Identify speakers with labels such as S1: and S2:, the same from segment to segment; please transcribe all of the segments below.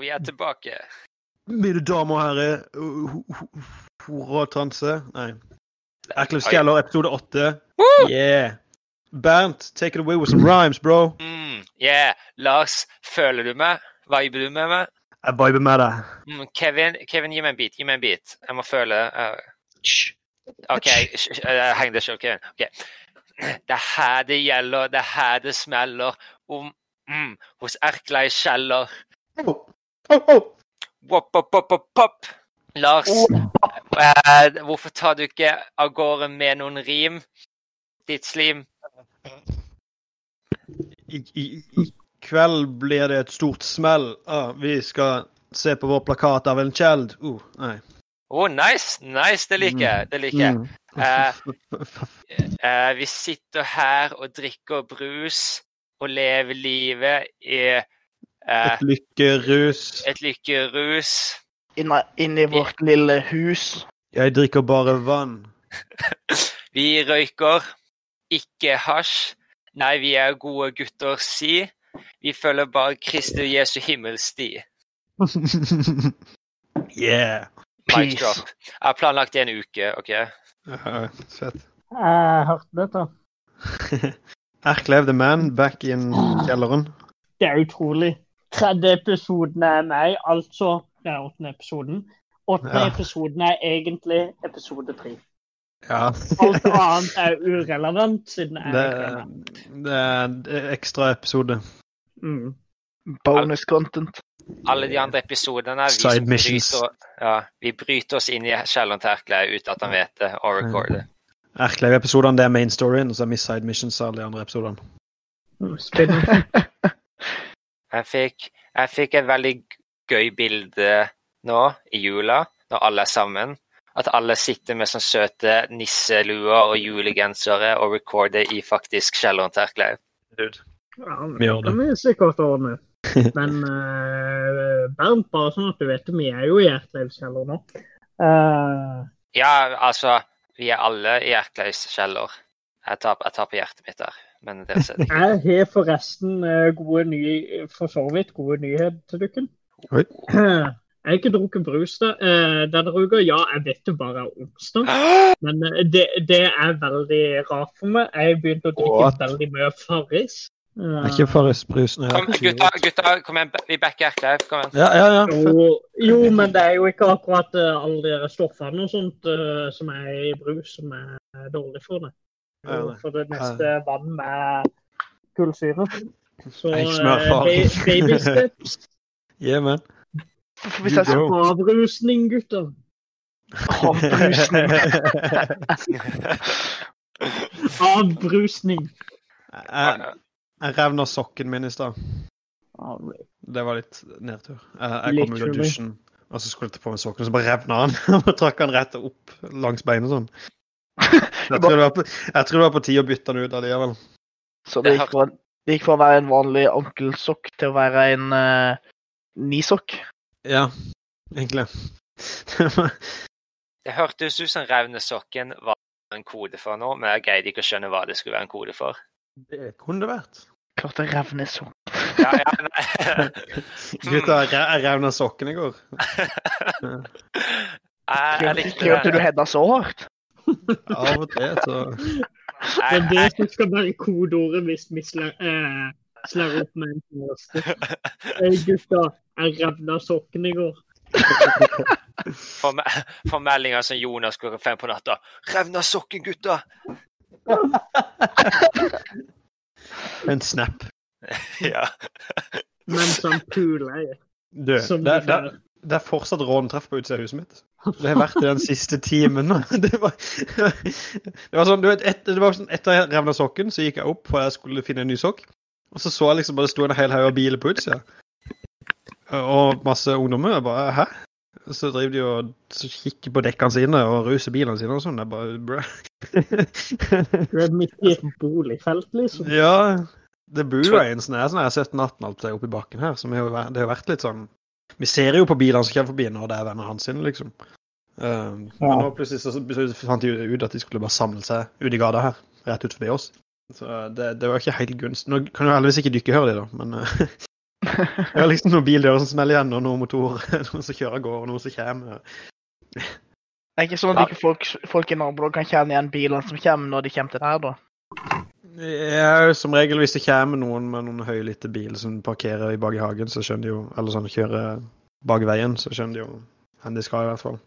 S1: vi er tilbake.
S2: Mine damer og herrer, ho- ho- horer og transe Nei. Erklev
S1: Oi.
S2: Skeller, episode åtte.
S1: Woo!
S2: Yeah. Bernt, take it away with some rhymes, bro.
S1: Mm, yeah. Lars, føler du meg? Viber du med meg?
S2: Jeg viber med deg.
S1: Mm, Kevin, Kevin, gi meg en bit. Gi meg en bit. Jeg må føle eh, OK, sh- sh- eh, heng deg sjøl, Kevin. Ok. Det er her det gjelder, det er her det smeller. Om, mm, hos Erkleid Kjeller.
S2: Oh, oh, oh.
S1: Wop, wop, wop, wop, wop. Lars, eh, hvorfor tar du ikke av gårde med noen rim? Ditt slim.
S2: I, i, I kveld blir det et stort smell. Ah, vi skal se på vår plakat av en Kjeld. Uh, nei.
S1: Å, Oh, nice! Nice, det liker jeg. Det liker jeg.
S2: Mm.
S1: Eh, Eh, vi sitter her og drikker brus og lever livet i eh,
S2: Et lykkerus.
S1: et lykkerus.
S3: Inna- Inni vårt lille hus.
S2: Jeg drikker bare vann.
S1: Vi røyker, ikke hasj. Nei, vi er gode gutter, si. Vi følger bare Kristi Jesu himmelsti.
S2: yeah.
S1: Mic
S3: Peace.
S1: drop. Jeg har planlagt det en uke, OK?
S2: Ja, Fett.
S4: Jeg hørte dette.
S2: Erklev the man back in
S4: Ah.
S2: kjelleren.
S4: Det er utrolig. Tredje episoden er meg, altså Det er åttende episoden. Åttende
S2: Ja.
S4: episoden er egentlig episode tre.
S2: Ja.
S4: Alt annet er urelevant, siden jeg
S2: Det,
S4: er ikke
S2: det er en ekstra episode.
S4: mm.
S3: Bonus content.
S1: Alle de andre episodene er vi
S2: Side
S1: som
S2: missions.
S1: bryter, ja, vi bryter oss inn i kjelleren til Erkleir uten at han vet det, og recorder.
S2: Erklev-episodene det er main storyen, og så er Miss Side Missions alle de andre episodene.
S4: Spennende.
S1: Jeg fikk, jeg fikk et veldig gøy bilde nå i jula, når alle er sammen. At alle sitter med sånne søte nisseluer og julegensere og recorder i faktisk kjelleren til Erkleir.
S4: Ja,
S2: Vi gjør det.
S4: kan vi sikkert ordne. Men eh, Bernt, bare sånn at du vet det, vi er jo i Ertlevskjeller nå. Eh,
S1: Ja, altså, vi er alle i Erkleirs kjeller. Jeg tar, jeg tar på hjertet mitt der, men det ser jeg ikke.
S4: jeg har forresten eh, gode ny, for så vidt gode nyheter til dere.
S2: Oi.
S4: Jeg har ikke drukket brus da, eh, denne uka. Ja, jeg vet det bare er onsdag, men eh, det, det er veldig rart for meg. Jeg begynte å drikke
S2: What?
S4: veldig mye Farris. Eh,
S2: Er ikke Farris-brus
S1: Kom, gutta, gutta, kom igjen, vi backer Erkleir. Kom igjen.
S2: Ja, ja, ja. Fett.
S4: Jo, jo, men det er jo ikke akkurat eh, alle de stoffene og sånt eh, som er i brus som er dårlig for deg.
S2: Ja, ja.
S4: For det meste er vann med kullsyre. Så
S2: Jeg smører
S4: eh,
S2: far.
S4: ba- baby steps.
S2: Yeah, man.
S3: For Hvis jeg
S4: sånn
S3: skal
S2: Jo.
S4: Avrusning, gutter.
S3: Avrusning.
S4: Avrusning.
S2: jeg, jeg revna sokken min i stad. Det var litt nedtur. Jeg, jeg kom ut av
S4: Literally.
S2: dusjen, og så skulle jeg ta på meg sokken, og så bare revna han. Og trakk han rett opp langs beinet sånn. Jeg tror det var på, jeg tror det var på tide å bytte han ut allikevel.
S3: Så det gikk fra, det gikk fra å være en vanlig ankelsokk til å være en eh, nisokk.
S2: Ja, egentlig.
S1: Det hørtes ut som Raunesokken var en kode for noe, men jeg greide ikke å skjønne hva det skulle være en kode for.
S2: Det kunne det vært.
S3: Klart det revner sånn.
S1: Ja, ja, nei.
S2: Gutta, jeg re- jeg revna sokken i går.
S1: Jeg, jeg likte
S3: Ikke at du
S1: det.
S3: hedda så hardt.
S2: Av og til, så
S4: Det
S1: Jeg,
S4: er det
S1: jeg,
S4: som skal være kodeordet hvis vi slår eh, slår opp med en kjæreste. Eh, Gutter, jeg revna sokken i går.
S1: får, me får meldinger som Jonas klokka fem på natta. 'Revna sokken, gutta!'
S2: En snap.
S1: Ja.
S4: Mens han puler. jeg,
S2: Du,
S4: sånn som
S2: det,
S4: de
S2: det,
S4: gjør.
S2: Det er fortsatt råntreff på utsida av huset mitt. Det har vært det den siste timen. nå. Det var, det var sånn, du vet, et, det var sånn, Etter jeg revna sokken, så gikk jeg opp for jeg skulle finne en ny sokk. Og så så jeg liksom bare det sto en hel haug av biler på utsida. Og masse ungdommer. Jeg bare Hæ? Så driver de og så kikker på dekkene sine og ruser bilene sine og sånn. Jeg bare brø.
S4: Du er midt i et boligfelt, liksom.
S2: Ja. Det bor jo en sånn her sånn her 17-18 alt oppi bakken her, som har jo vært, det har jo vært litt sånn Vi ser jo på bilene som kommer forbi når det er venner hans sine, liksom. Um,
S4: Ja.
S2: Men nå plutselig så, så fant de jo ut at de skulle bare samle seg ute i gata her, rett ut forbi oss. Så det, det var ikke helt gunst. Nå kan jo heldigvis ikke dykke høre de, da, men eh, Jeg har liksom noen bildører som smeller igjen, og noen motorer, noen som kjører av gårde, og noen som kommer.
S3: Det er ikke sånn at ikke folk, folk i nabolaget kan kjenne igjen bilene som kommer når de kommer til der, da.
S2: Ja, som regel hvis det kommer noen med noen høylytte bil som parkerer i bak i hagen, så skjønner de jo Eller sånn kjører bak veien, så skjønner de jo hvor de skal, i hvert fall.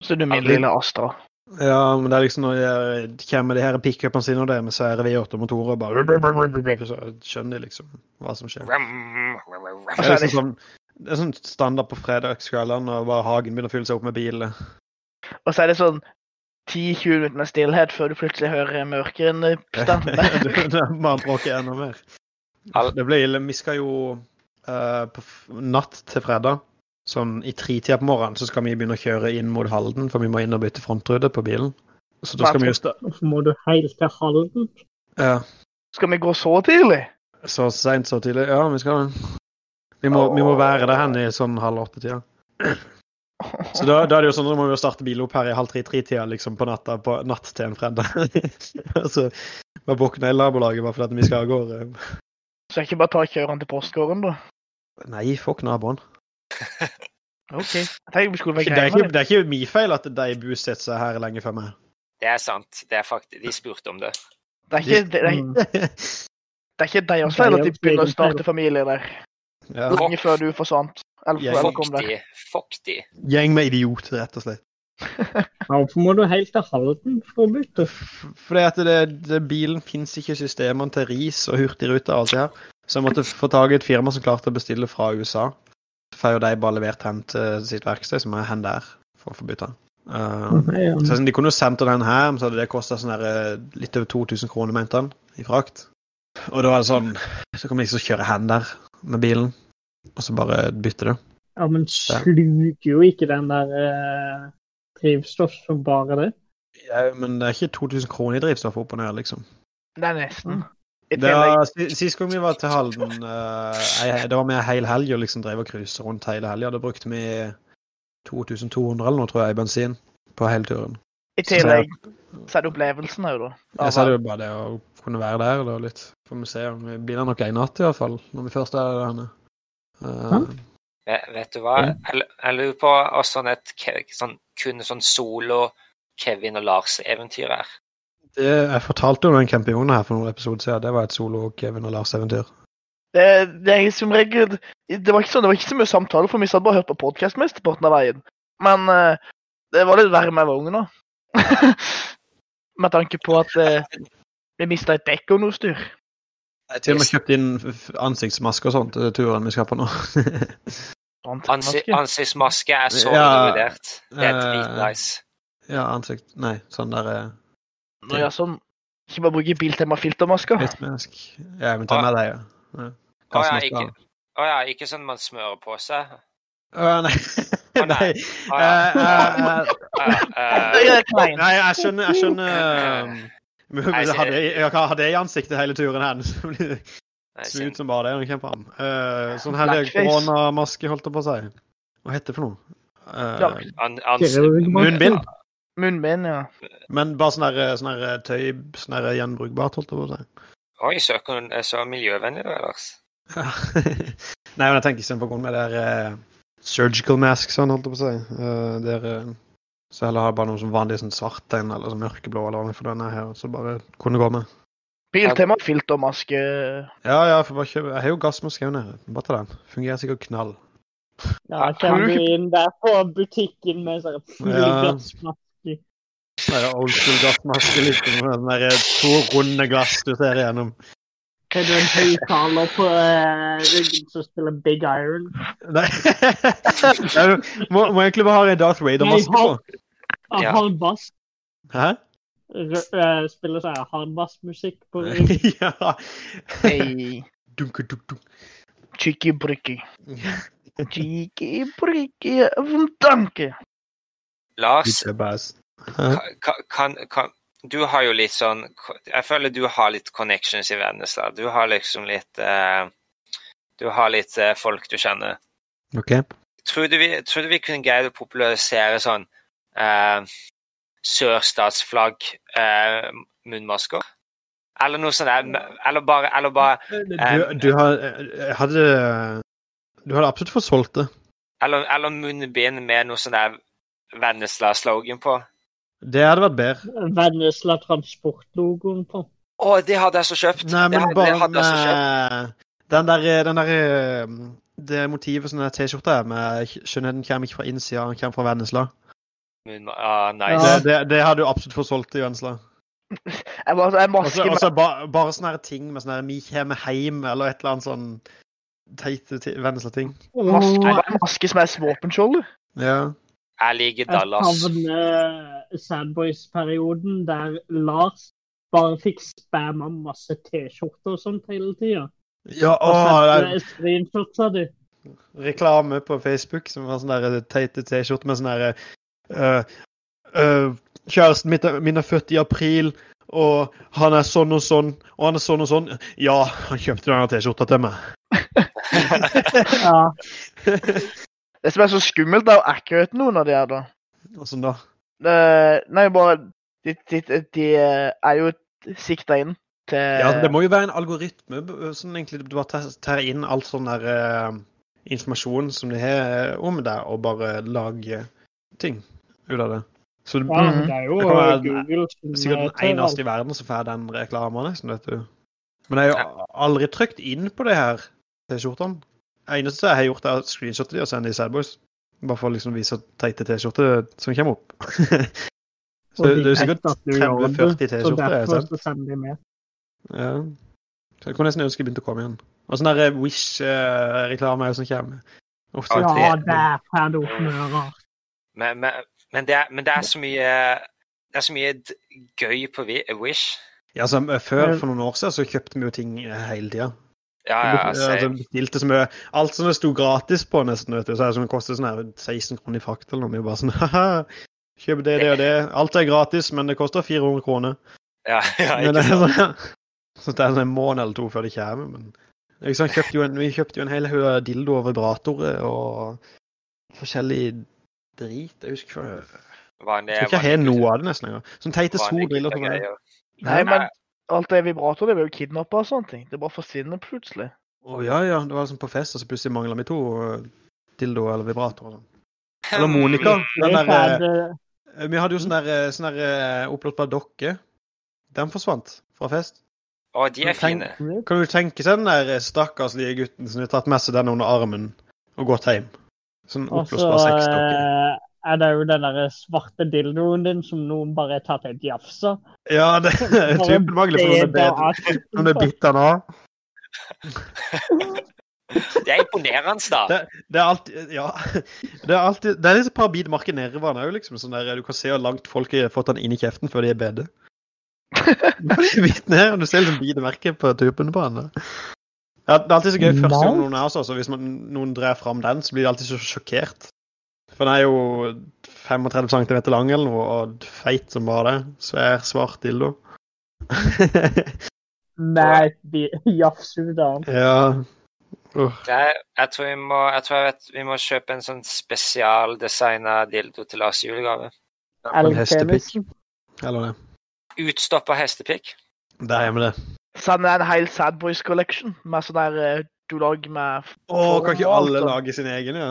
S3: Så du min
S2: Aldri.
S3: lille Astra.
S2: Ja, men det er liksom når de kommer de her pickupene sine og det med svære V8-motorer og bare Så skjønner de liksom hva som skjer.
S1: Ram, ram, ram, ram.
S2: Det er liksom sånn, det er sånn standard på fredagskveldene når bare hagen begynner å fylle seg opp med biler.
S3: Og så er det sånn 10-20 minutter med stillhet før du plutselig hører mørkeren stemme.
S2: Det- det er Bare bråker enda mer.
S1: Al-
S2: Det ble ille. Vi skal jo eh, på f- natt til fredag, sånn i tretida på morgenen, så skal vi begynne å kjøre inn mot Halden, for vi må inn og bytte frontrute på bilen. Så da skal vi jo sta-
S4: Hvorfor må du helt til Halden?
S2: Ja,
S3: Skal vi gå så tidlig?
S2: så seint så tidlig. Ja, vi skal Vi må, vi må være der hen i sånn halv åtte-tida. Så da, da er det jo sånn at vi må vi jo starte bilen opp her i halv tre-tre-tida liksom på natta på natt til en fredag. altså, bare våkne i nabolaget bare fordi at vi skal av gårde.
S3: Så jeg ikke bare tar kjøreren til postgården, da?
S2: Nei, fuck naboen.
S3: OK. Jeg tenker vi skulle
S2: Det er
S3: være greie
S2: ikke,
S3: med det.
S2: det er ikke min feil at de bosetter seg her lenge før meg.
S1: Det er sant. Det er fakti- de spurte om det.
S3: Det er ikke, det er,
S4: Mm.
S3: det er ikke deres feil at de begynner å starte familie der.
S2: ja.
S3: Lenge før du forsvant. Eller
S2: Jeg-
S3: før du
S1: Fuck
S3: kom der.
S1: de. Fuck de.
S2: Gjeng med idioter, rett og slett.
S4: Ja, Hvorfor må du helt til Halden for å bytte?
S2: F- Fordi at det, det, bilen fins ikke i systemene til Ris og Hurtigruta og alt det her. Så jeg måtte få tak i et firma som klarte å bestille fra USA. Så får jo de bare levert hen til sitt verksted, så må jeg hen der for å få bytta den. Uh,
S4: Nei, ja.
S2: så sånn, de kunne jo sendt den her, men så hadde det kosta sånn der, eh, litt over 2000 kroner, mente han, i frakt. Og da var det sånn Så kan vi liksom kjøre hen der med bilen, og så bare bytte det.
S4: Ja, men sluker jo ikke den der eh, drivstoff som bare det.
S2: Ja, men det er ikke 2000 kroner i drivstoff opp og ned, liksom.
S3: Det er nesten. I
S2: Det
S3: tillegg,
S2: var, si- sist gang vi var til Halden, eh, jeg- det var med hel helg og liksom drev og cruiset rundt hele helga. Da brukte vi 2200 eller noe, tror jeg, i bensin på hele turen.
S3: i tillegg så er det opplevelsen òg, da.
S2: Jeg sa det jo bare det å kunne være der da litt. Får vi se om vi blir der nok en natt, i hvert fall, når vi først er der henne. Eh,
S1: Ve- Vet du hva?
S3: Mm.
S1: Jeg, lu- jeg lurer på hva sånn et Ke- sånn, kun sånn solo Kevin og Lars-eventyr er.
S2: det, jeg fortalte jo om den campionen her for noen episoder siden. Det var et solo-Kevin og Lars-eventyr.
S3: Det, det er som regel Det var ikke sånn, det var ikke så mye samtale, for vi satt bare og hørte på podkast mesteparten av veien. Men eh, det var litt verre med vogna. med tanke på at eh, vi mista et dekk og noe styr.
S2: Jeg til og med kjøpte inn f- ansiktsmaske og sånt til turen vi skal på nå.
S3: Brant
S1: Ansi
S3: maske.
S1: ansiktsmaske er så
S2: Ja.
S1: vurdert. Det er
S2: Eh.
S1: dritnice.
S2: ja, ansikt... Nei, sånn der eh,
S3: Nå gjør sånn. Ikke bare bruke biltemafiltermasker.
S2: Hvitmask. Ja, men ta med deg, ja.
S1: Å
S2: ja.
S1: ja,
S2: Hva som
S1: ikke,
S2: skal-
S1: å ja, ikke sånn man smører på seg.
S2: Å, nei.
S1: Å, nei.
S2: nei.
S1: Å ja,
S2: Eh, eh, eh,
S1: eh,
S3: Det
S1: eh,
S3: er kleint.
S2: nei, jeg skjønner, jeg skjønner um, men
S1: Nei, så-
S2: hadde jeg, jeg hadde jeg i ansiktet hele turen her, så blir det
S1: nei,
S2: smooth
S1: synd.
S2: som bare det. når jeg kommer fram. Eh, sånn her
S3: Blackface.
S2: koronamaske, holdt jeg på å si. Hva heter det for noe? Eh,
S3: Ja.
S1: An- ans-
S2: Munnbind.
S3: Munnbind, ja.
S2: Men bare sånn her, sånn her tøy sånn her gjenbrukbart, holdt jeg på å si.
S1: Oi, søker hun er så miljøvennlig du er, Lars.
S2: Ja. Nei, men jeg tenker istedenfor å gå med der eh, surgical mask, sånn, holdt jeg på å si. Eh, der, eh, så heller ha bare noe som vanlig sånn svart en, eller sånn mørkeblå, eller noe for denne her, så bare kunne gå med.
S3: Biltemafiltermaske.
S2: Ja, ja, for bare kjøpe Jeg har jo gassmaske her nede. Bare ta den. Fungerer sikkert knall.
S4: Ja, kommer du inn der på butikken med sånn
S2: Ja.
S4: fugleglassmaske.
S2: Nei, det er Old school gassmaske, liksom. med Den der eh, to runde glass du ser igjennom.
S4: Har du en høyttaler på eh, ryggen som spiller Big Iron?
S2: Nei. Nei, du må, må egentlig bare ha en Darth Vader-maske på.
S4: Ah,
S1: Ja.
S4: Hardbass.
S2: Hæ?
S4: R- eh, Spiller sånn hardbassmusikk på ryggen.
S2: ja.
S3: Hey.
S2: Dunke, dunk, dunk.
S3: Chiki briki. Chiki briki. Danke.
S1: Lars,
S2: Ikke bass.
S1: kan, kan, kan, du har jo litt sånn Jeg føler du har litt connections i Vennesla. Du har liksom litt eh, Du har litt eh, folk du kjenner.
S2: OK.
S1: Tror du vi, tror du vi kunne greid å popularisere sånn eh, sørstatsflagg eh, munnmasker? sånn Eller noe sånt der. Eller bare, eller bare
S2: Du, du har eh, Hadde eh, Du hadde absolutt fått solgt det.
S1: Eller, eller munnbind med noe sånn der Vennesla-slogan på.
S2: Det hadde vært bedre.
S4: Vennesla Transport-logoen på.
S1: Å, det hadde jeg så kjøpt!
S2: Nei,
S1: det
S2: men eh,
S1: hadde, det
S2: bare
S1: hadde jeg så kjøpt.
S2: med den der, den der eh, Det motivet som den T-skjorta er med Skjønnheten kommer ikke fra innsida, den kommer fra Vennesla.
S1: Munn, ah,
S4: Ja.
S1: nice.
S2: Det, det, det hadde du absolutt fått solgt i Vennesla.
S3: Jeg bare, jeg
S2: Og så-
S3: masker
S2: og
S3: meg.
S2: så ba, bare sånne her ting med sånn her Vi kommer heim, eller et eller annet sånn teite ti- Vennesla-ting.
S3: Maske, jeg masker som er våpenskjoldet.
S2: Ja.
S1: Jeg liker
S4: Jeg
S1: Dallas.
S4: savner Sadboys-perioden der Lars bare fikk spamma masse T-skjorter og sånt hele tida.
S2: ja å, det er
S4: Screenshots av de.
S2: reklame på Facebook som var sånn der teite T-skjorte med sånn der eh, eh, Kjæresten mitt, er- min er født i april, og han er sånn og sånn, og han er sånn og sånn. Ja, han kjøpte denne T-skjorta til meg.
S4: Ja.
S3: Det som er så skummelt, er jo accurate noen av de her, da.
S2: Og sånn da.
S3: Eh, nei, bare De, de, de, de er jo sikta inn til
S2: Ja, det må jo være en algoritme b- som egentlig bare tar- tar inn all sånn der eh, informasjon som de har om deg, og bare lager ting ut av det. Så det,
S4: ja, det er
S2: Mm.
S4: jo
S2: Det kan være den-
S4: Google som
S2: det
S4: eh,
S2: er sikkert
S4: tar
S2: den eneste i verden som får den reklamen, nesten, vet du. Men jeg har jo aldri trykt inn på det her T-skjortene. Det eneste jeg har gjort, er å screenshotte de og sende de i Sadboys. Bare for å liksom vise teite T-skjorter som kommer opp.
S4: alt, og
S2: så det,
S4: de
S2: det er sikkert
S4: vet at du gjør det,
S2: 30-40
S4: Så
S2: T-skjorter. jeg har
S4: derfor
S2: sendt.
S4: så sender de med.
S2: Ja. Så jeg kunne nesten ønske det begynte å komme igjen. Og sånn der Wish-reklame sånn som kommer. Ofte.
S1: Ja,
S4: Ja,
S1: det-
S4: der får du opp noe rart.
S1: Men, men, men, det er, men det er så mye Det er så mye d- gøy på Vi- Wish.
S2: Ja, så, eh, før, for noen år siden, så kjøpte vi jo ting eh, hele tida.
S1: Ja, ja, altså,
S2: altså, bestilte så mye. Alt som det sto gratis på, nesten, vet du. Så er det sånn, det koster sånn her 16 kroner i frakt eller noe. Vi er bare sånn haha, kjøp det, det og det. Alt er gratis, men det koster 400 kroner.
S1: ja, ja,
S2: Men
S1: ikke
S2: det er
S1: sant.
S2: sånn, så det er sånn en måned eller to før det kommer. Men det er ikke sånn, kjøpte jo en, vi kjøpte jo en hel haug dildo og vibratorer og forskjellig drit. Jeg husker ikke hva-
S1: Vanlig,
S2: Jeg tror sånn, ikke jeg har noe av det nesten engang. Sånn teite solbriller. som er-
S1: greier.
S3: Nei, men
S1: Nei.
S3: alt det vibratoret det blir jo kidnappa og sånne ting. Det bare forsvinner plutselig.
S2: Å ja, ja. Det var liksom på fest, og så plutselig mangla vi to eh, dildoer eller vibratorer. og sånn. Eller Monica.
S4: Det
S2: Den der,
S4: får
S2: eh,
S4: det-
S2: vi hadde jo sånn der, eh, sånn der eh, oppblåsbar dokke. Den forsvant fra fest.
S1: Å, de er
S2: Tenk-
S1: fine.
S4: eh,
S2: Kan du tenke seg den der eh, stakkars lille gutten som har tatt med seg den under armen og gått hjem? Sånn
S4: Og så
S2: oppblåsbar sexdokke.
S4: Altså, eh, er det jo den der svarte dildoen din som noen bare har tatt et jafs av.
S2: Ja, det er
S4: Bare
S2: typen mangler for noen er
S4: bedre
S2: bedre.
S4: av-
S2: Noen er bitt den av.
S1: Det er imponerende, da.
S2: Det er alltid Ja. Det er alltid Det er liksom litt parabidmarked nervene òg, liksom. Sånn der, du kan se hvor langt folk har fått den inn i kjeften før de er bedt. Hvitt ned, og du ser liksom bidemerket på tuppene på henne. Ja, det er alltid så gøy første gang noen er hos oss, og hvis man, noen drar fram den, så blir de alltid så sjokkert. For den er jo 35 cm lang eller noe, og feit som bare det. Svær, svart dildo.
S4: Med et bi- jafs ut av den.
S2: ja.
S1: Det er, jeg tror, vi må, jeg tror jeg vet, vi må kjøpe en sånn spesialdesigna dildo til Lars i julegave.
S2: En hestepikk,
S4: Elg-penisen.
S2: eller det.
S1: Utstoppa hestepikk.
S2: Der er vi det.
S3: Send en hel Sad Boys Collection med sånn der eh, du lager med
S2: Å, kan ikke alle lage sin egen, ja?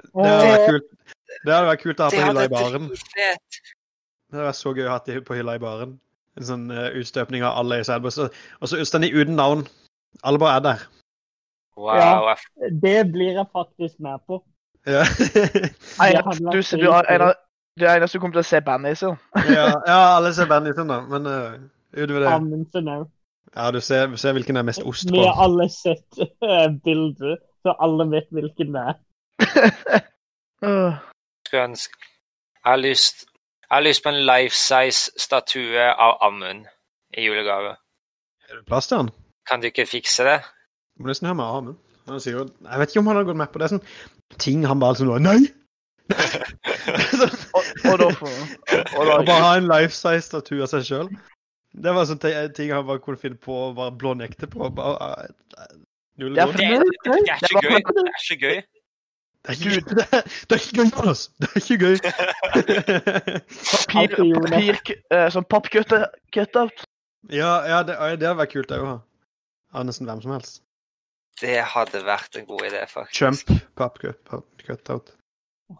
S2: Det hadde
S4: Åh.
S2: vært kult. Det hadde vært kult å ha
S1: Det
S2: på
S1: hadde
S2: hylla i baren.
S1: dritfett.
S2: Det hadde vært så gøy å ha det på hylla i baren. En sånn eh, utstøpning av alle i Selbu. så- Og så utstendig uten navn. Alle bare er der.
S1: Wow. jeg-
S4: Det blir jeg faktisk med på.
S2: Ja,
S3: Nei,
S4: Det hadde vært
S3: du, du, er en av- du er eneste som kommer til å se bandet i seg.
S2: ja, ja alle ser bandet sin, da. Men eh, utover det
S4: Amundsen òg.
S2: Ja, du ser, ser hvilken det er mest ost
S4: Vi
S2: på.
S4: har alle sett eh, bildet, så alle vet hvilken det er.
S3: Øh.
S1: Skulle ønske Jeg har lyst Jeg har lyst på en life size statue av Amund i julegave.
S2: Er det plass til han?
S1: Kan du ikke fikse det?
S2: Du må nesten høre med armen. Han sier jo Jeg vet ikke om han har gått med på det. Sånn ting han bare liksom Nei!
S3: Og, og da får og
S2: Å
S3: da,
S2: bare ha en life size statue av seg sjøl. Det var sånne te- ting han bare kunne finne på å bare blånekte på. Bare, eh, null
S3: Ja,
S2: grunn.
S1: Det,
S3: for-
S1: det, det er ikke gøy. Det er ikke gøy.
S2: Det er ikke, det er, det er ikke gøy, Jonas! Det er ikke gøy!
S3: papir,
S4: Alltid gjorde det.
S3: papir, eh, sånn pappcut-out.
S2: ja, ja, det, ja, det hadde vært kult, det òg. Av nesten hvem som helst.
S1: Det hadde vært en god idé, faktisk.
S2: Trump pappcut- cutout.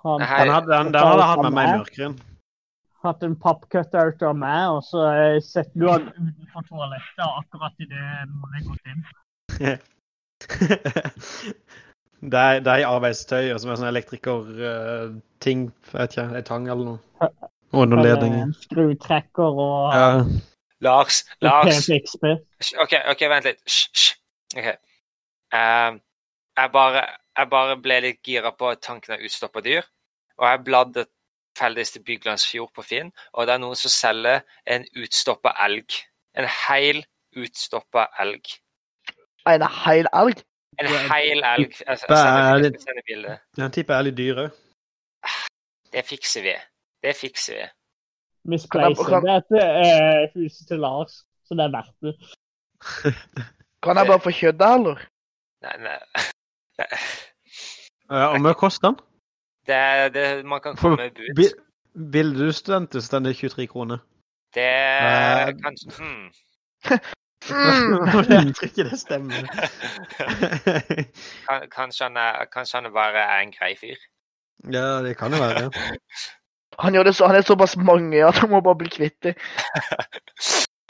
S4: Han
S1: Nei.
S4: har
S2: Den hadde, den, den hadde hatt med meg mørkere.
S4: hatt en pappcutout av meg, og så eh, setter du han utenfor toalettet akkurat idet noen er gått inn.
S2: Det er, det er i arbeidstøy og som er sånn elektrikerting. jeg vet ikke, ei tang eller noe. Og noen
S4: Eller
S2: ledninger.
S4: En skrutrekker og
S2: Ja.
S1: Lars, Lars.
S4: PFXP.
S1: Hysj, OK, ok, vent litt. Hysj, hysj. OK. Ehm, jeg, bare, jeg bare ble litt gira på tanken av utstoppa dyr. Og jeg bladde tilfeldigvis til Byglandsfjord på Finn, og det er noen som selger en utstoppa elg. En heil utstoppa elg.
S3: En hel elg?
S1: En
S4: Det er
S1: heil elg. Jeg, jeg sender, jeg sender bilde.
S2: Den type er litt dyr òg.
S1: Det fikser vi. Det fikser vi.
S4: Misplacer.
S3: Kan
S4: Det er til eh, huset til Lars, så det er verdt det.
S3: Kan jeg bare få kjøttet, eller?
S1: Nei, nei.
S2: Eh, Og mye koster den?
S1: Det, er- det, man kan komme med bud.
S2: Bi- Bildestudent hvis den er 23 kroner.
S1: Det er kanskje hmm.
S3: Mm.
S2: Jeg tror ikke det stemmer.
S1: kan, kanskje, han er, kanskje han bare er en grei fyr.
S2: Ja, det kan jo være.
S3: Han, gjør det så, han er såpass mange at han må bare bli kvitt dem.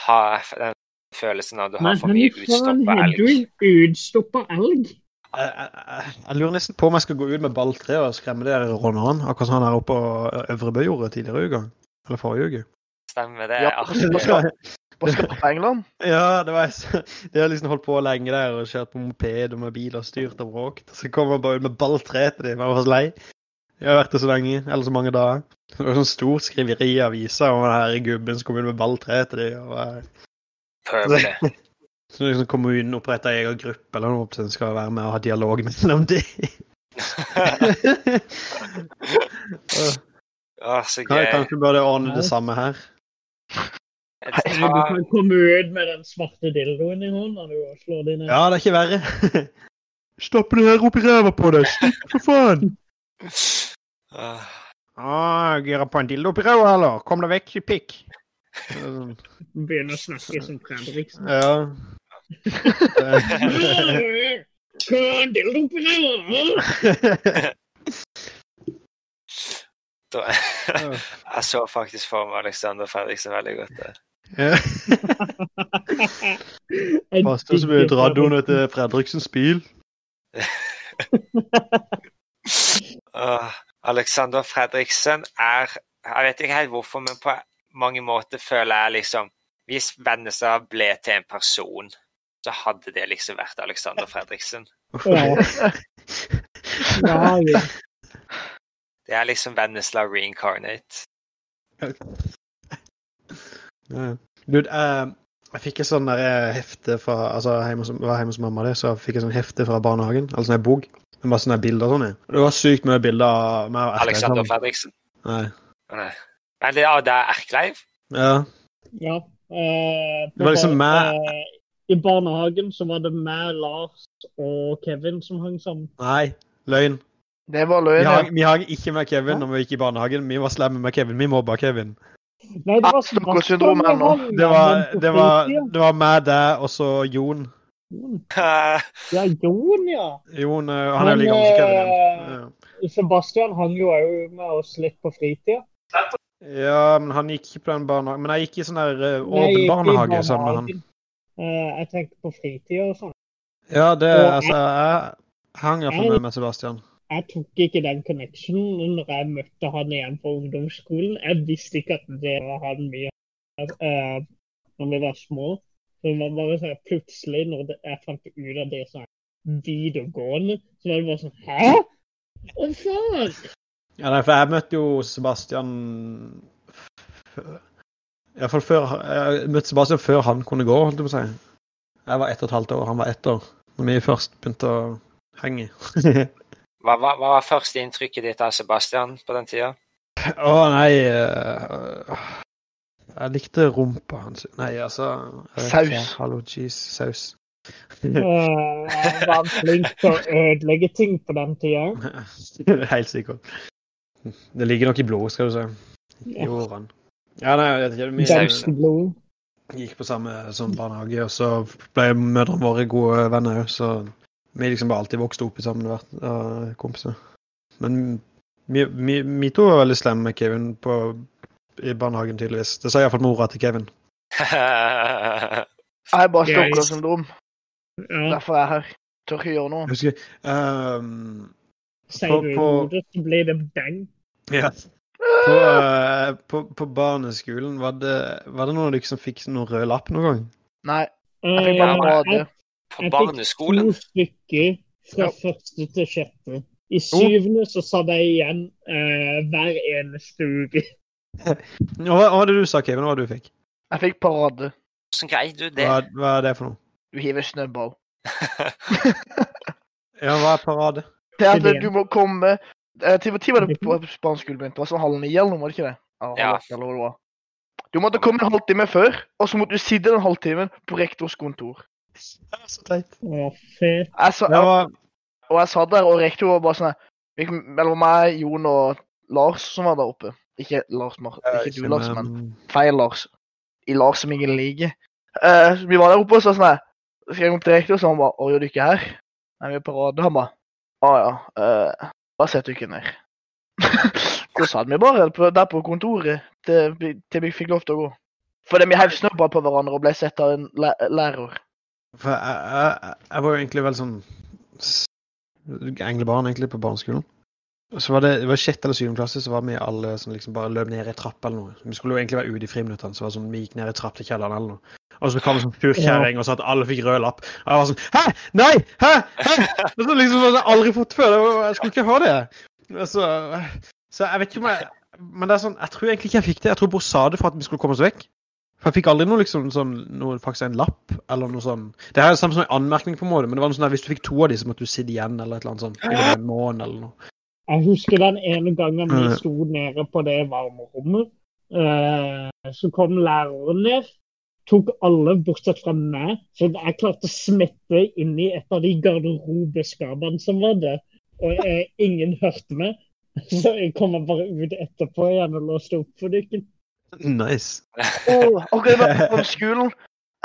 S1: Ha den følelsen av at du har
S4: Men
S1: for mye
S4: men faen,
S1: utstoppa
S4: har
S1: elg.
S4: du en utstoppa elg?
S2: Jeg, jeg, jeg lurer nesten på om jeg skal gå ut med balltre og skremme det der råneren, akkurat som han her oppe på Øvrebø gjorde tidligere i uka. Eller forrige uke.
S1: Stemmer det?
S3: Ja,
S1: artig.
S3: det skal- Hva skal på England?
S2: Ja, det var så- De har liksom holdt på lenge der og kjørt på moped og med bil og styrt og bråkt. Så kommer han bare ut med balltre til dem. Jeg var så lei. Jeg har vært det så lenge, eller så mange dager. Det var sånn stort skriveri i avisa om den her gubben som kom ut med balltre til dem. Og, eh,
S1: Pøbel.
S2: så liksom kommunen oppretta egen gruppe eller noe som skal være med og ha dialog mellom dem.
S1: Å, så gøy.
S2: Kanskje burde jeg ordne det samme her.
S4: Du
S1: Ta,
S4: kan komme ut med den svarte dildoen i hånda du, og slå dine
S2: Ja, det er ikke verre. Stappe det her opp i ræva på deg! For faen!
S1: Åh,
S2: Ah, gira på en dildo oppi ræva, eller? Kom deg vekk, pikk. Sånn.
S4: Begynne å snakke som Fredriksen.
S2: Ja.
S4: Hva er dildo på deg?
S1: da, jeg så faktisk for meg Alexander Fredriksen veldig godt. der.
S4: Jeg
S2: Pass deg så mye
S4: digger
S2: radioen til Fredriksens bil.
S1: Åh, Alexander Fredriksen er Jeg vet ikke helt hvorfor, men på mange måter føler jeg liksom Hvis Vennesla ble til en person, så hadde det liksom vært Alexander Fredriksen.
S4: Ja. Ja, ja.
S1: Det er liksom Vennesla reincarnate.
S2: Ja. Dude, eh, jeg fikk et sånn der eh, hefte fra altså jeg hjemme hos- var hjemme hos mamma, det, så jeg fikk et sånn hefte fra barnehagen. Altså en bok. Med masse sånne bilder og sånn. i. Det var sykt mye bilder av meg og Erklein
S1: Alexander
S2: sammen.
S1: Fredriksen.
S2: Nei.
S1: Nei. Men det, ja, det er Erkleiv.
S2: Ja.
S4: ja. Eh, på
S2: Det var liksom
S4: bar-
S2: meg-
S4: eh, I barnehagen så var det meg, Lars og Kevin som hang sammen.
S2: Nei. Løgn.
S3: Det var
S2: Vi
S3: løgn. ja.
S2: hang, vi hang ikke med Kevin når vi gikk i barnehagen. Vi var slemme med Kevin. Vi mobba Kevin.
S4: Nei, det var
S3: Stockholm-syndrom ennå.
S4: Stockholm-syndrom.
S2: Det var, det var, det var meg, deg og så Jon.
S4: Ja, Jon, ja.
S2: Jon eh, han er jo
S4: Men,
S2: like gammel som Kevin.
S4: eh,
S2: ja.
S4: Sebastian hang jo òg med oss litt på fritida.
S2: Ja, men han gikk ikke på den barnehagen. Men jeg gikk i sånn der eh,
S4: Nei, ikke
S2: åpen
S4: i
S2: barnehage sammen med han.
S4: barnehagen. Eh, jeg tenker på fritida og sånn.
S2: Ja, det
S4: Og-
S2: altså Jeg hang iallfall med med Sebastian.
S4: Jeg tok ikke den connectionen når jeg møtte han igjen på ungdomsskolen. Jeg visste ikke at det var han mye uh, når vi var små. Så det var bare sånn at plutselig, når det, jeg fant ut av det sånn videregående, så var det bare sånn Hæ? Å, faen!
S2: Ja, nei, for jeg møtte jo Sebastian Iallfall før Jeg møtte Sebastian før han kunne gå, holdt jeg på å si. Jeg var ett og et halvt år, han var ett år. Når vi først begynte å henge. Å
S1: Hva, hva, hva var første inntrykket ditt av Sebastian på den tida?
S2: nei eh, Jeg likte rumpa hans. Nei, altså jeg vet ikke.
S3: Saus.
S2: Hallo, cheese, saus.
S4: Eh, jeg var flink til å ødelegge ting på den tida.
S2: Helt sikkert. Det ligger nok i blodet, skal du si. I årene. Ja, nei, jeg vet ikke.
S1: Sausen.
S4: Danske blod.
S2: Vi gikk på samme sånn barnehage, og så ble mødrene våre gode venner òg, så Vi liksom bare alltid vokste opp i sammen og vært uh, kompiser. Men vi, vi, vi to var veldig slemme med Kevin på, i barnehagen, tydeligvis. Det sa iallfall mora til Kevin.
S3: Jeg er bare
S4: Ja, jeg-
S3: stalker-syndrom.
S4: Ja,
S3: Derfor er jeg her. Tør ikke gjøre noe.
S2: Jeg husker ehm,
S4: sier
S2: på-
S4: du
S2: på-
S4: imot, så blir det bang.
S2: Ja. På, eh, på, på barneskolen, var det, var det noen av dere som fikk noen rød lapp noen gang?
S3: Nei.
S4: Eh,
S3: Jeg fikk bare
S4: jeg-
S3: AD.
S4: Jeg
S1: På
S4: fikk
S1: barneskolen?
S4: To stykker fra
S3: Ja.
S4: første til sjette. I syvende så sa de igjen eh, hver eneste uke.
S2: Hva, hva var det du sa, Kevin? Hva var det du fikk?
S3: Jeg fikk parade.
S1: Hvordan greier du det?
S2: Hva, hva er det for noe?
S3: Du hiver snøball.
S2: Ja, hva er parade?
S3: Det er
S4: Ideen.
S3: at du må komme eh, Til når var det på barneskolen min? Det var sånn halv ni eller noe, var det ikke det? Eller
S1: Ja.
S3: halv åtte, eller hva det var. Du måtte komme en halvtime før, og så måtte du sitte den halvtimen på rektors kontor.
S2: Det er så teit.
S4: Å, fett.
S3: Jeg sa,
S2: Det var,
S3: og jeg satt der, og rektor var bare sånn her, vi- Mellom meg, Jon og Lars som var der oppe. Ikke Lars, Mar ikke du, Lars, men feil Lars. I Lars som ingen liker. Eh, så vi var der oppe og så sånn her. Så Skrev jeg opp til rektor, så han bare 'Å, gjør du ikke her?' Nei, vi er på rad. Han bare 'Å ja, eh, da setter du ikke ned'. da satt vi bare på, der på kontoret til, vi- til vi fikk lov til å gå. Fordi vi heiv snøball på hverandre og ble sett av en læ lærer.
S2: For jeg, jeg, jeg var jo egentlig veldig sånn s- englebarn, egentlig, på barneskolen. Og Så var det, det var sjette eller syvende klasse, så var vi alle som liksom bare løp ned i trapp eller noe. Vi skulle jo egentlig være ute i friminuttene, så var det sånn, vi gikk ned i trapp til kjelleren eller noe. Og så kom det sånn furkjerring og sa at alle fikk rød lapp. Og jeg var sånn Hæ? Nei! Hæ? Hæ? Det var liksom sånn jeg aldri fått før. Det var, jeg skulle ikke ha det. Så, så jeg vet ikke om jeg Men det er sånn, jeg tror egentlig ikke jeg fikk det. Jeg tror bror sa det for at vi skulle komme oss vekk. For jeg fikk aldri noe liksom sånn, noe, faktisk en lapp eller noe sånn. Det her er samme som en anmerkning på en måte, men det var noe sånn der, hvis du fikk to av de, så måtte du sitte igjen eller et eller annet sånt. I en måned eller noe.
S4: Jeg husker den ene gangen vi
S2: Mm.
S4: sto nede på det varmerommet. Eh, så kom læreren ned, tok alle bortsett fra meg. Så jeg klarte å smette inn i et av de garderobeskapene som var der. Og eh, ingen hørte meg. Så jeg kom bare ut etterpå igjen og låste opp for dykken.
S2: Nice.
S3: Oh, ok, det var på skolen.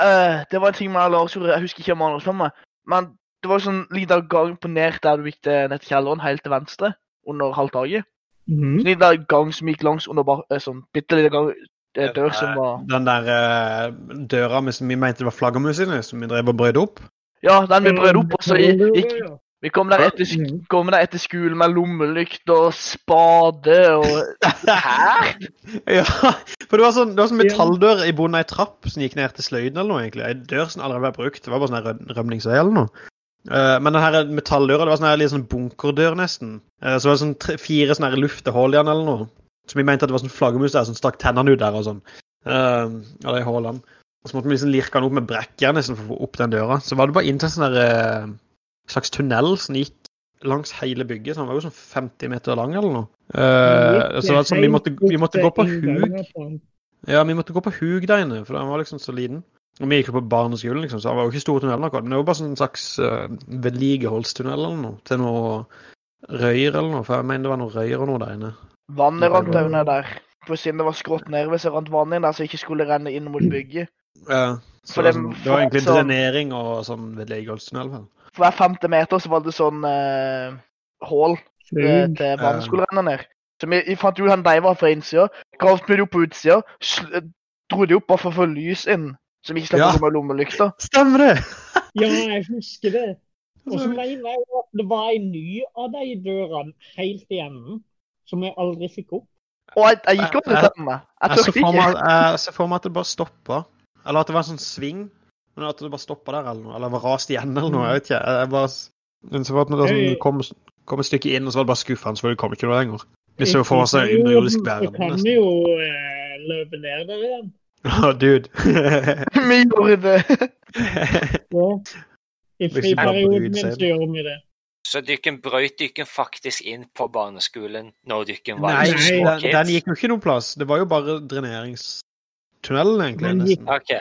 S3: Eh, det var en ting med Lars gjorde, jeg husker ikke om han var med, men det var sånn liten gang på ned der du gikk til ned til kjelleren, helt til venstre, under halvtaket.
S4: Mhm.
S3: Sånn liten gang som gikk langs under bar, eh, sånn bitte liten gang, eh, dør som var
S2: Den der eh, døra med, som vi mente det var flaggermus inni, som vi drev og brøyde opp.
S3: Ja, den vi brød opp, og så i- gikk
S4: Ja.
S3: Vi kom der etter, sk- kom der etter skolen med lommelykt og spade og Hæ?
S2: Ja, for det var sånn, det var sånn metalldør i bunnen av ei trapp som gikk ned til sløyden eller noe, egentlig. Ei dør som allerede ble brukt. Det var bare sånn her røm- rømningsvei eller noe. Eh, men den her metalldøra, det var sånn her litt sånn bunkerdør, nesten. Eh, så var det sånn tre, fire sånne her luftehull i den eller noe. Som vi mente at det var sånn flaggermus der som stakk tennene ut der og sånn. Eh, av de hullene. Og så måtte vi liksom lirke den opp med brekkjern nesten for å få opp den døra. Så var det bare inn til en sånn der, eh, slags tunnel som gikk langs hele bygget. Så den var jo sånn 50 meter lang eller noe. Eh, så det var sånn, vi måtte, vi måtte gå på huk ja, vi måtte gå på hug der inne, for han var liksom så liten. Og vi gikk jo på barneskolen, liksom, så han var jo ikke stor tunnel, nok, men det var bare sånn en slags uh, vedlikeholdstunnel eller noe, til noe røyer eller noe, for jeg mener det var noe røyer og noe der inne.
S3: Vannet rant òg ned der. På siden det var skrått nedover, så rant vannet inn der så det ikke skulle renne inn mot bygget.
S2: Ja, så
S3: For
S2: det, var
S3: dem
S2: sånn, det var egentlig
S3: folk som-
S2: drenering og sånn vedlikeholdstunnel, vel.
S3: For hver femte meter så var det sånn eh, hull eh, til vann skulle renne ned. Så vi, vi fant jo han de var fra innsida, gravde vi det opp på utsida, sl dro de opp bare for å få lys inn. Så vi ikke slapp
S2: Ja.
S3: å gå med lommelykta.
S2: Stemmer det!
S4: Ja, jeg husker det. Og
S2: Mm.
S4: så mener jeg at det var en ny av de dørene helt i enden som jeg aldri fikk opp.
S3: Og jeg, jeg gikk opp til stemme. Jeg
S2: Jeg ser
S3: turte
S2: for
S3: ikke.
S2: meg, jeg ser for meg at det bare stoppa. Eller at det var en sånn sving, men at det bare stoppa der eller noe. Eller var rast igjen eller noe. Jeg vet ikke. Jeg bare men så var det når det sånn, kom, kom et stykke inn, og så var det bare skuffende, for det kom ikke noe lenger. Vi så for oss en underjordisk
S4: Så
S2: verden.
S4: kan vi
S2: nesten.
S4: jo eh, løpe ned der igjen.
S2: Å, dude.
S3: Vi gjorde det.
S4: Ja. I
S2: Hvis vi bare bryr
S4: friperioden min
S2: seg.
S4: så gjør vi det.
S1: Så dykken brøyt dykken faktisk inn på barneskolen når dykken var
S2: Nei,
S1: en
S4: Nei,
S1: små
S2: den,
S1: kid?
S2: den gikk jo ikke noen plass. Det var jo bare dreneringstunnelen, egentlig.
S4: Den gikk-
S2: nesten.
S1: OK.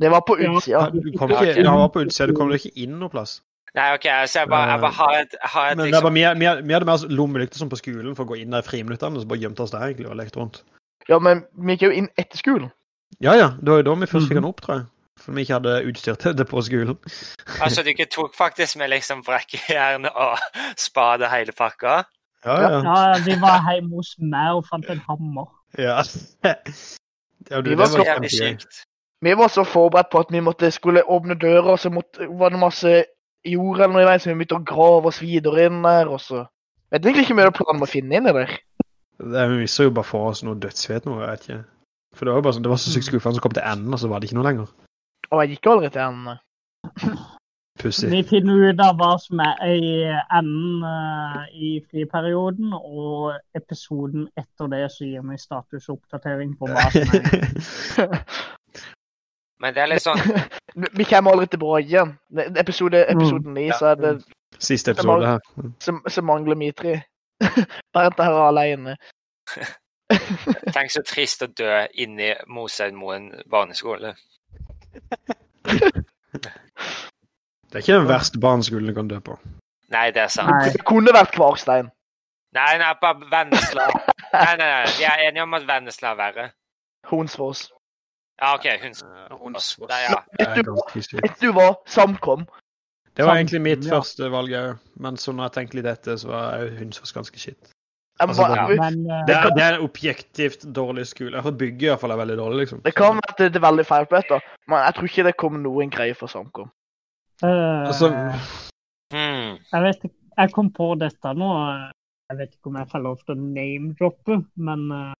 S3: Det var på
S4: Ja.
S3: utsida.
S2: Du kom ikke, den var på utsida, du kom jo ikke inn noen plass.
S1: Nei, ok, altså jeg bare, jeg bare har et, jeg har et
S2: Men det er bare,
S1: liksom,
S2: vi, vi, vi hadde mer lommelykter som på skolen for å gå inn der i friminuttene, og så bare gjemte oss der egentlig og lekte rundt.
S3: Ja, men vi gikk jo inn etter skolen.
S2: Ja ja, det var jo da vi først fikk den opp, tror jeg. For vi ikke hadde utstyr til det på skolen.
S1: Altså, dere tok faktisk med liksom brekkejern og spade hele pakka?
S2: Ja, ja.
S4: Ja, vi var hjemme hos meg og fant en hammer.
S2: Ja, ja du,
S3: Vi
S2: det
S3: var
S2: var
S1: Det
S3: så-
S1: var jævlig
S2: kjempegøy.
S1: sykt.
S3: Vi var så forberedt på at vi måtte skulle åpne døra, og så måtte, var det masse jord eller noe i veien, så vi begynte å grave oss videre inn der, og så Vet egentlig ikke om vi hadde planen om å finne inni der.
S2: Det er- Vi så jo bare for oss noe dødsfett nå, jeg vet ikke. For det var jo bare sånn, det var så sykt skuffende, så kom det til enden, og så var det ikke noe lenger.
S3: Og jeg gikk aldri til enden.
S2: Pussig.
S4: Vi finner ut av hva som er i enden eh, i friperioden, og episoden etter det så gir vi statusoppdatering på hva som er
S1: Men det er litt sånn
S3: Vi- Vi kommer aldri tilbake igjen. Ne- Episode, episoden 9, så, er det,
S2: Siste episode her.
S3: så, så mangler vi tre. Bernt er alene.
S1: Tenk så trist å dø inni Moshaugmoen barneskole.
S2: Det er ikke den verste barneskolen du kan dø på.
S1: Nei, det er sant.
S4: Nei.
S3: Det kunne vært Kvarstein.
S1: Nei, nei, bare Vennesla. Nei, nei, nei. Vi er enige om at Vennesla er verre.
S3: Honsfors.
S1: Ja, OK, Hundsfoss. Nei, ja.
S2: Det er ganske sykt.
S3: Vet du hva? Samkom.
S2: Det var egentlig mitt
S4: Ja.
S2: første valg òg, men så når jeg tenker litt etter, så er Hunsfors ganske shit.
S3: Jeg
S2: Altså,
S3: må-
S2: det-
S3: det,
S4: Men eh,
S2: Det er, det er en objektivt dårlig skole. Iallfall bygget i hvert fall er veldig dårlig, liksom.
S3: kan være at det er veldig feil på dette, men jeg tror ikke det kom noen greier for Samkom.
S4: eh,
S2: Altså,
S1: Hmm.
S4: jeg vet ikke, jeg kom på dette nå. eh, Jeg vet ikke om jeg får lov til å name-droppe, men eh,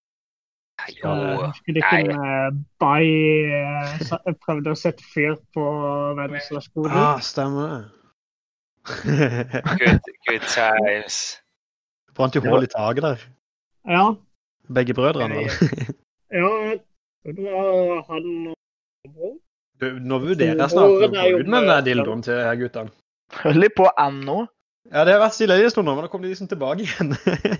S1: Jo.
S4: jeg husker eh, det
S1: Nei.
S4: kunne Bay eh, prøvde å sette fyr på Vennesla skole.
S2: ah, stemmer det.
S1: Good, good times.
S2: Brant jo hull i taket der.
S4: Ja,
S2: Begge brødrene.
S4: ja, det var han og bror.
S2: Du, nå vurderer jeg snart å
S4: Årene er
S2: gå
S4: jo
S2: ut med den der
S4: mørke.
S2: dildoen til her guttene.
S3: Følger på ennå.
S2: Ja, det har vært stille i en stund nå, men da kom de liksom tilbake igjen. jeg,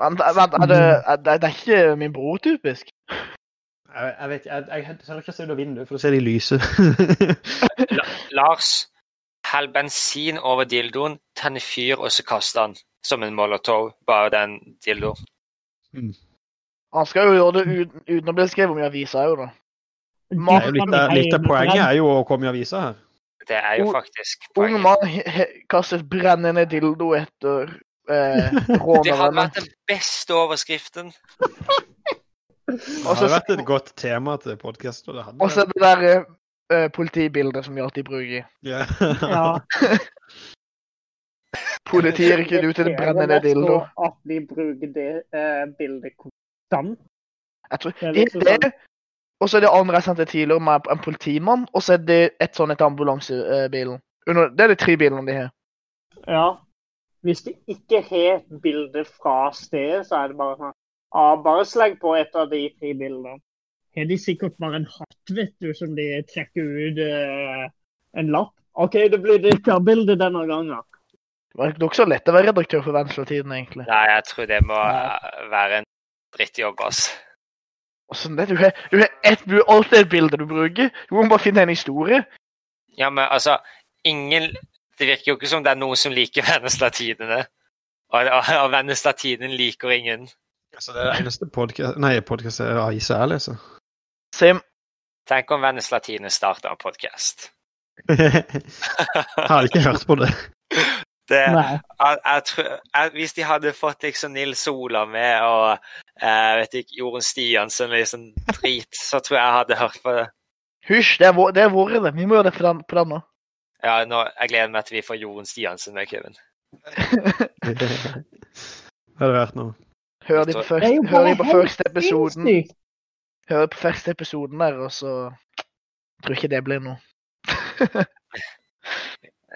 S3: Vent, vent er det, er, det det er ikke min bror, typisk.
S2: jeg vet jeg, jeg, jeg tør ikke se ut av vinduet, for da ser de lyset.
S1: Lars, hell bensin over dildoen, tenn fyr, og så kast den som en molotov. Bare den dildoen.
S3: Han skal jo gjøre det uten, uten å bli skrevet om i avisa òg, da.
S2: Det er jo litt, av- litt av poenget er jo å komme i avisa her.
S1: Det er jo
S3: Ung-
S1: faktisk
S3: Ung
S1: poenget.
S3: mann he- he- kastet brennende dildo etter eh,
S1: Det hadde
S3: rånerne.
S1: vært den beste overskriften.
S2: Det
S3: Og så-
S2: hadde vært et godt tema til podkast. Og det hadde
S3: Og så det der eh, eh, politibildet som de alltid bruker.
S2: Ja.
S4: Ja.
S3: Politiet rykker ut til en brennende dildo.
S4: At de bruker det eh, bildet konstant.
S3: Jeg tror,
S4: Det er
S3: det
S4: liksom
S3: er det, og så er det andre jeg sendte tidligere, med en politimann, og så er det et sånn etter ambulansebilen. Under, det er de tre bilene de har.
S4: Ja. Hvis de ikke har bilde fra stedet, så er det bare sånn ja, Bare sleng på et av de tre bildene. Har de sikkert bare en hatt, vet du, som de trekker ut eh, en lapp? OK, det blir dykkerbilde denne gangen.
S3: Det var nok så lett å være redaktør for Venstretiden, egentlig.
S1: Nei, jeg tror det må eh, være en drittjobb, ass.
S3: Og sånn det, du har, du har ett, du har alltid et bilde du bruker. Du må bare finne en historie.
S1: Ja, men altså, ingen Det virker jo ikke som det er noen som liker Vennesla-tidene. Og, og, og Vennesla-tiden liker ingen.
S2: Altså, det er det eneste podkast Nei, podkast er avisa jeg leser.
S3: Same.
S1: Tenk om Vennesla-tidene starta en podkast.
S2: jeg har ikke hørt på det.
S1: Det,
S4: Nei.
S1: jeg, jeg tror, jeg, hvis de hadde fått liksom Nils Ola med og eh, vet ikke, Jorunn Stiansen og liksom drit, så tror jeg jeg hadde hørt på det.
S3: Hysj, det er vår, det er vår det. Vi må gjøre det på den, på den nå.
S1: Ja, nå, jeg gleder meg til vi får Jorunn Stiansen med, Kevin.
S2: det hadde vært noe.
S3: Hør de
S4: Det er jo
S3: på først-
S4: bare
S3: hør de på
S4: helt
S3: første episoden.
S4: Sinnssykt.
S3: Hør på første episoden der, og så tror ikke det blir noe.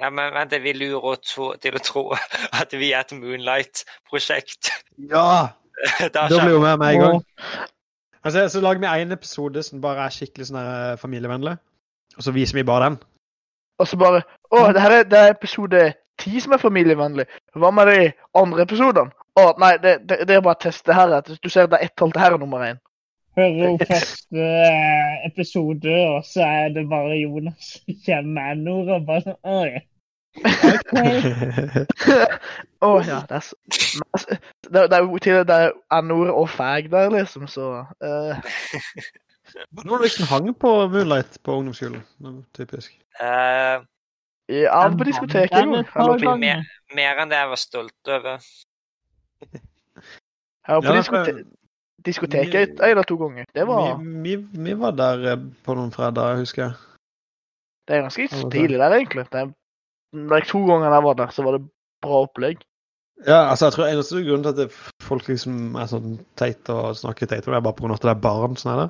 S1: Ja, men vent, vi lurer å tro, til å tro at vi er et Moonlight-prosjekt.
S2: Ja!
S1: Da
S2: Da blir jo vi med en gang.
S4: Åh.
S2: Altså, så lager vi en episode som bare er skikkelig sånn her, eh, familievennlig, og så viser vi bare den.
S3: Og så bare Å, det her er, det er episode ti som er familievennlig. Hva med de andre episodene? Å, nei, det, det, det er bare test. Det her er, du ser det er ett tall. Det her er nummer én.
S4: Hører jo første eh, episode, og så er det bare Jonas som kommer med noe, og bare sånn Oi. ok».
S3: Å ja, det er så men altså, Det, det er jo til og med det er N-ord og fag der, liksom, så eh,
S2: Når du liksom hang på Moonlight på ungdomsskolen. Det var Typisk.
S1: Eh,
S3: Ja, han på diskoteket en gang. Eller på-
S1: mer, mer enn det jeg var stolt over.
S3: Jeg var på
S2: Ja,
S3: diskote
S2: for-
S3: diskoteket en eller to ganger. Det var,
S2: vi, vi, vi var der eh, på noen fredager, husker jeg.
S3: det er ganske
S2: var det.
S3: stilig der, egentlig. Det er, like, to ganger jeg var der, så var det bra opplegg.
S2: Ja, altså, jeg tror eneste grunnen til at det, folk liksom er sånn teite og snakker teit om det, er bare på grunn av at det er barn sånn her.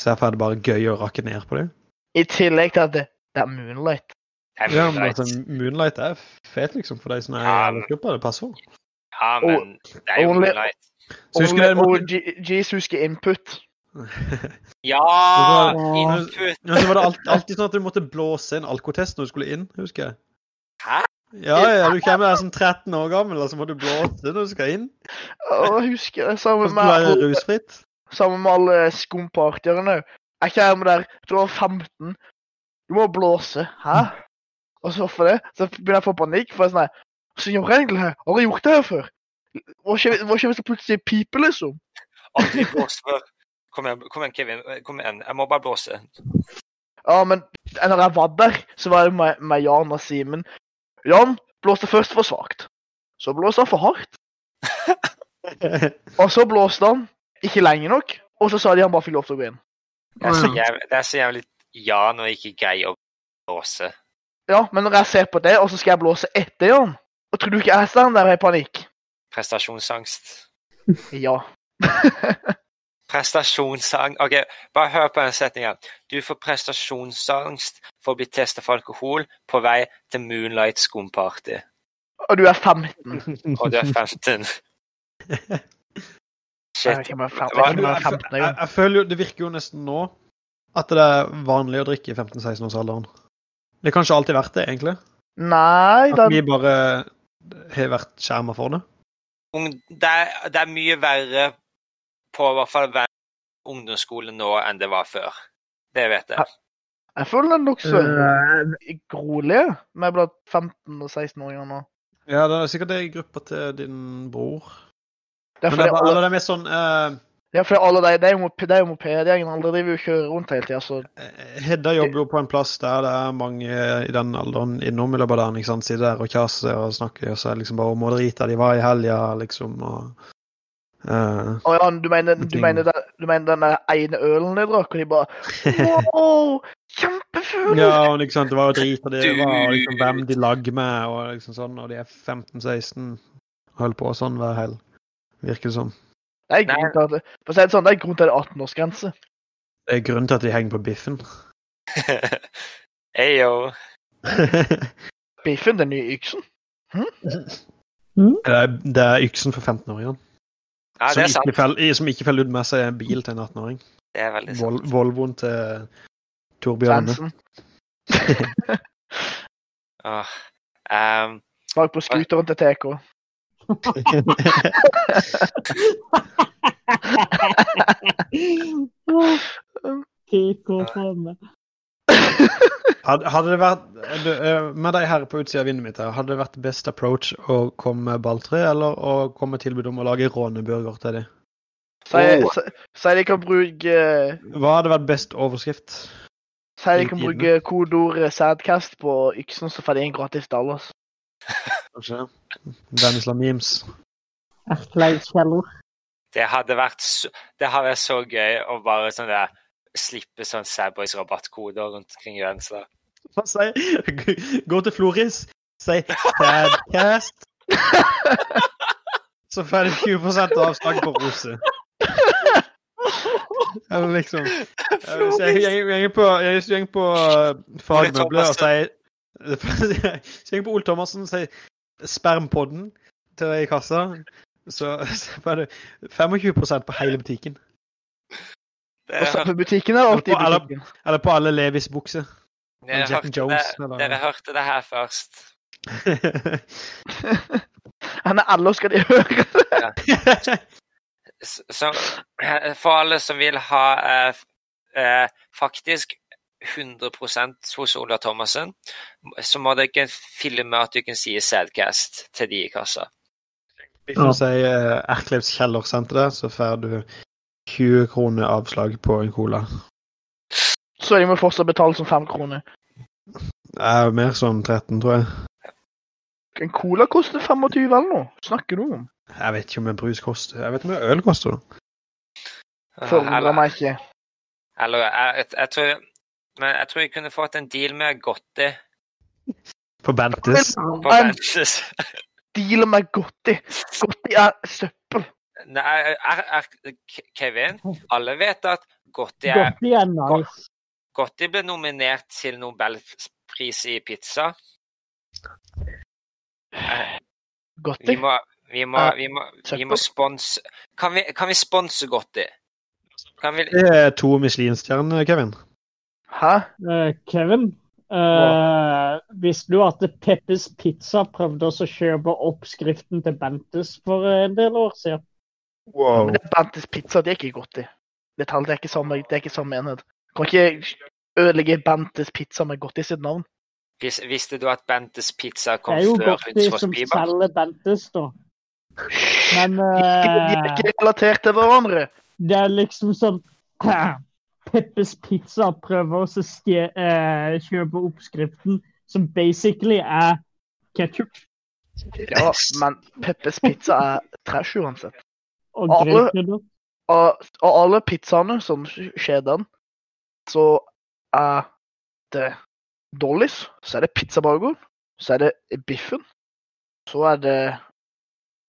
S2: Så derfor er det bare gøy å rakke ned på dem.
S3: I tillegg til at det, det er moonlight.
S1: Jeg
S2: Ja, men
S1: vet.
S2: altså, Moonlight er fet, liksom, for de som er
S1: Ja, men-
S2: vokst opp der. Det passer for.
S1: ja, men det er jo
S3: Only-
S1: Moonlight.
S2: Så husker
S3: Only-
S2: dere Morten?
S3: og G- G's husker input.
S1: Ja!
S2: Det
S4: var-
S1: Input!
S2: Ja, så var det alt, alltid sånn at du måtte blåse inn alkotest når du skulle inn, husker jeg.
S1: Hæ?
S2: Ja, ja, du kommer der som 13 år gammel, og så må du blåse når du skal inn.
S3: Og jeg husker det sammen
S2: Og så skal du
S3: med,
S2: være rusfritt.
S3: sammen med alle skumpartierne òg. Jeg kommer der, du var 15. Du må blåse. Hæ? Og så for det, så begynner jeg å få panikk. for jeg er sånn her, Så gjør jeg egentlig det her. Har jeg gjort det her før? Hva skjer, hva skjer hvis det plutselig piper, liksom?
S1: Aldri blåst før. Kom igjen, kom igjen, Kevin. Kom igjen. Jeg må bare blåse.
S3: Ja, men når jeg var der, så var det med, med Jan og Simen. Jan blåste først for svakt. Så blåste han for hardt. Og så blåste han ikke lenge nok. Og så sa de han bare fikk lov til å gå inn.
S1: Det er så
S4: Å, ja.
S1: jævlig, det er så jævlig ja når jeg ikke greier å blåse.
S3: Ja, men når jeg ser på det, og så skal jeg blåse etter Jan Og tror du ikke jeg står der i panikk?
S1: Prestasjonsangst.
S3: Ja.
S1: Prestasjonsang... OK, bare hør på den setningen. Du får prestasjonsangst for å bli testa for alkohol på vei til Moonlight skumparty.
S3: Og du er 15.
S1: Og du er 15.
S3: Jeg
S1: Shit.
S3: kan være fem- jeg
S1: Hva-
S3: kan være 15
S2: altså, Jeg,
S3: engang.
S2: jeg føler jo, Det virker jo nesten nå at det er vanlig å drikke i 15-16-årsalderen. Det har kanskje alltid vært det, egentlig.
S3: Nei,
S2: At vi
S3: den,
S2: bare har vært skjerma for det.
S1: Ung- Det er, det er mye verre på i hvert fall ven- ungdomsskolen nå enn det var før. Det vet jeg.
S3: jeg føler den nokså
S4: Øh,
S3: grolig med blant 15- og 16-åringer nå.
S2: Ja, det er sikkert det i gruppa til din bror.
S3: Det er
S2: Men det
S3: fordi
S2: er, bare,
S3: alle,
S2: eller det er mer sånn eh,
S3: det er fordi alle de, de er jo moped- de er jo mopedgjengen. Alle driver jo og kjører rundt hele tida, så
S2: Hedda jobber jo på en plass der det er mange i den alderen innom i løpet av dagen. ikke sant? Sitter der og kjaser og snakker og så er det liksom bare om å drite de var i helga, liksom. og... eh,
S3: Å ja, du mener, du,
S2: Ting.
S3: mener den, du mener den der ene ølen de drakk, og de bare Wow! Kjempefull!
S2: Ja, og liksom, det var jo drit, og det
S1: Du-
S2: var liksom hvem de lag med, og liksom sånn, og de er 15-16, og holder på sånn hver hel, virker det som.
S3: Det er grunn til at det, for å si det sånn, det er grunn til at det er 18-årsgrense.
S2: Det er grunnen til at de henger på biffen.
S1: Ayo.
S2: det,
S3: Biffen, den nye yksen.
S2: er, det er yksen for 15-åringen,
S1: Ja,
S2: som,
S1: det er
S2: ikke
S1: sant.
S2: fell- som ikke feller ut med seg en bil til en 18-åring.
S1: Det er veldig
S2: Vol
S1: sant.
S2: Volvoen til Torbjørn.
S3: Svendsen.
S1: Åh. Ehm,
S3: Bak på scooteren til TK.
S4: TK fremme.
S2: Hadde, hadde det vært, du, eh, med de her på utsida av vinduet mitt, her, hadde det vært best approach å komme med balltre, eller å komme med tilbud om å lage råneburger til de?
S3: Sier sier de kan bruke eh,
S2: Hva hadde vært best overskrift?
S3: Sier de kan
S2: Fint
S3: bruke kodeord eh, 'sadcast' på yksen, så får de en gratis altså. Dallas.
S2: Kanskje det. Vennesla memes.
S4: Ertleidskjeller.
S1: det hadde vært så, det hadde vært så gøy å bare sånn der slippe sånn Sæboys rabattkoder rundt omkring grensa.
S2: Hva sier Gå til Floris, si Sadcast. Så får du 20 avslag på rose. Eller liksom eh, Hvis jeg jeg- jeg går på, jeg går på eh, fagmøbler og sier Hvis jeg går på Ole Thomassen og sier spermpodden til deg i kassa, så så får du 25 på hele butikken.
S1: Det
S3: Og så- for butikken er alltid i
S2: Eller-
S3: butikken.
S2: Eller på alle Levis bukser.
S1: Dere
S2: Jack
S1: hørte
S2: Jones,
S1: det,
S2: eller-
S1: dere hørte det her først.
S3: Men ellers skal de høre.
S1: S- Så for alle som vil ha eh, f- eh, faktisk 100 hos Ola Thomassen, så må dere filme at dere sier Sadcast til de i kassa.
S2: eh, Hvis du sier Erklevs kjellersenter, så får du 20 kroner avslag på en cola.
S3: Så de må fortsatt betale som fem kroner.
S2: Det er mer sånn 13, tror jeg.
S3: En cola koster 25 eller noe. Snakker du om?
S2: Jeg vet ikke om en brus koster Jeg vet ikke om en øl koster. da.
S3: Forundrer meg ikke.
S1: Eller jeg, jeg, tror, men jeg tror jeg kunne fått en deal med godteri
S2: På Bentes.
S1: på Benches.
S3: Deal med Gotti. Gotti er søppel.
S1: Nei, er, er, Kevin, alle vet at godteri er
S4: Godteri er nice.
S1: Gotti ble nominert til Nobelpris i pizza. Eh, Vi
S3: Gotti?
S1: må, vi må, vi må, vi må sponse Kan vi, kan vi sponse Gotti? Kan vi
S2: Det er to Michelin-stjerner, Kevin.
S3: Hæ?
S4: Eh, Kevin, eh, visste du at Peppes Pizza prøvde også å kjøpe oppskriften til Bentes for en del år siden?
S2: Wow.
S3: Men det er Bentes pizza, det er ikke Gotti. Det, er tall- det er ikke samme, det er ikke samme enhet. Kan ikke ødelegge Bentes pizza med Gotti sitt navn.
S1: Vis- Visste du at Bentes Pizza
S4: Det
S1: kom
S4: er jo
S1: før
S4: Gotti
S1: Hunsfors
S4: som
S1: Biber?
S4: selger Bentes, da.
S3: Hysj!
S4: Men
S3: De er
S4: eh,
S3: ikke relatert til hverandre.
S4: det er liksom sånn Peppes Pizza prøver også å stje- eh, kjøpe oppskriften, som basically er ketsjup
S3: Ja, men Peppes pizza er trash uansett.
S4: og
S3: Alle-
S4: grønnkrydder.
S3: Av, av alle pizzaene som skjer den, så er det Dollys, så er det pizzaburgeren, så er det biffen, så er det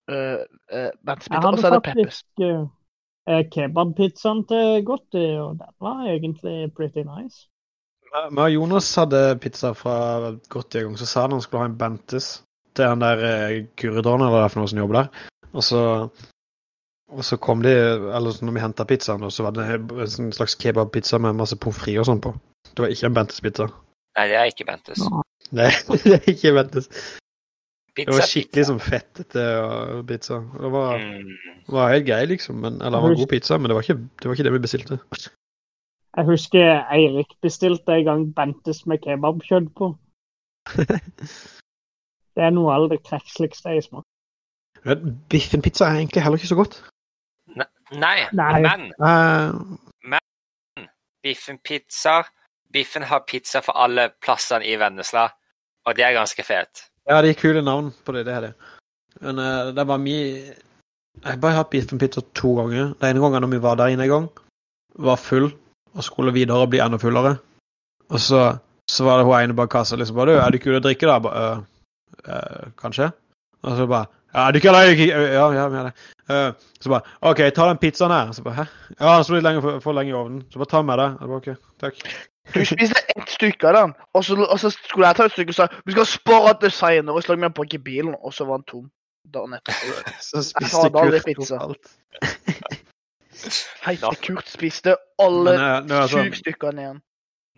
S3: øh, øh, Bentes
S4: Jeg
S3: pizza, og
S4: hadde
S3: så er det Peppes.
S4: faktisk eh, kebabpizzaen til Gotti, og den var egentlig pretty nice.
S2: Vi og Jonas hadde pizza fra Gotti en gang, så sa han han skulle ha en Bentes til han der eh, kurderen eller hva det er for noe som jobber der. Og så, og så kom de Eller så når vi henta pizzaen, og så var det en sånn slags kebabpizza med masse pommes frites og sånn på. Det var ikke en Bentes-pizza.
S1: Nei, det er ikke Bentes.
S2: Nei, det er ikke Bentes. Det
S1: Pizza,
S2: var skikkelig sånn fettete og pizza. Og Det var,
S1: Mm.
S2: var helt grei, liksom. Men, eller det var god pizza, men det var ikke det, var ikke det vi bestilte.
S4: Jeg husker Eirik bestilte en gang Bentes med kebabkjøtt på. Det er noe av det kreksligste jeg smaker.
S2: Men Biffen pizza er egentlig heller ikke så godt.
S1: Nei,
S4: Nei.
S1: men
S2: Eh,
S1: Biffen Pizza Biffen har pizza for alle plassene i Vennesla, og det er ganske fett.
S2: Ja, de er kule navn på det. det er det. Men eh, det var mye Jeg har bare hatt Biffen Pizza to ganger. Den ene gangen når vi var der inne en gang, var full og skulle videre og bli enda fullere. Og så, så var det hun ene bak kassa liksom bare, du, 'Er du kul å drikke, da?' Jeg Bare, «Øh, øh, 'Kanskje?' Og så bare 'Ja, er du kul, da?' Jeg- jeg- Ja, ja, vi er det. Eh, så bare 'OK, ta den pizzaen her.' Så bare 'Hæ?' 'Ja, den sto litt lenge for, for lenge i ovnen.' Så bare ta med det. Jeg Bare, OK, takk.
S3: Du spiste ett stykke av den, og så, og så skulle jeg ta et stykke og sa du skal spare til senere, og så lagde vi den på i bilen, og så var den tom. Dagen etter.
S2: Så
S3: tar
S2: spiste
S3: da aldri
S2: Kurt
S3: pizza.
S2: opp alt.
S3: Feite Kurt spiste alle
S2: Men, eh, nå er det sånn-
S3: syv stykkene igjen.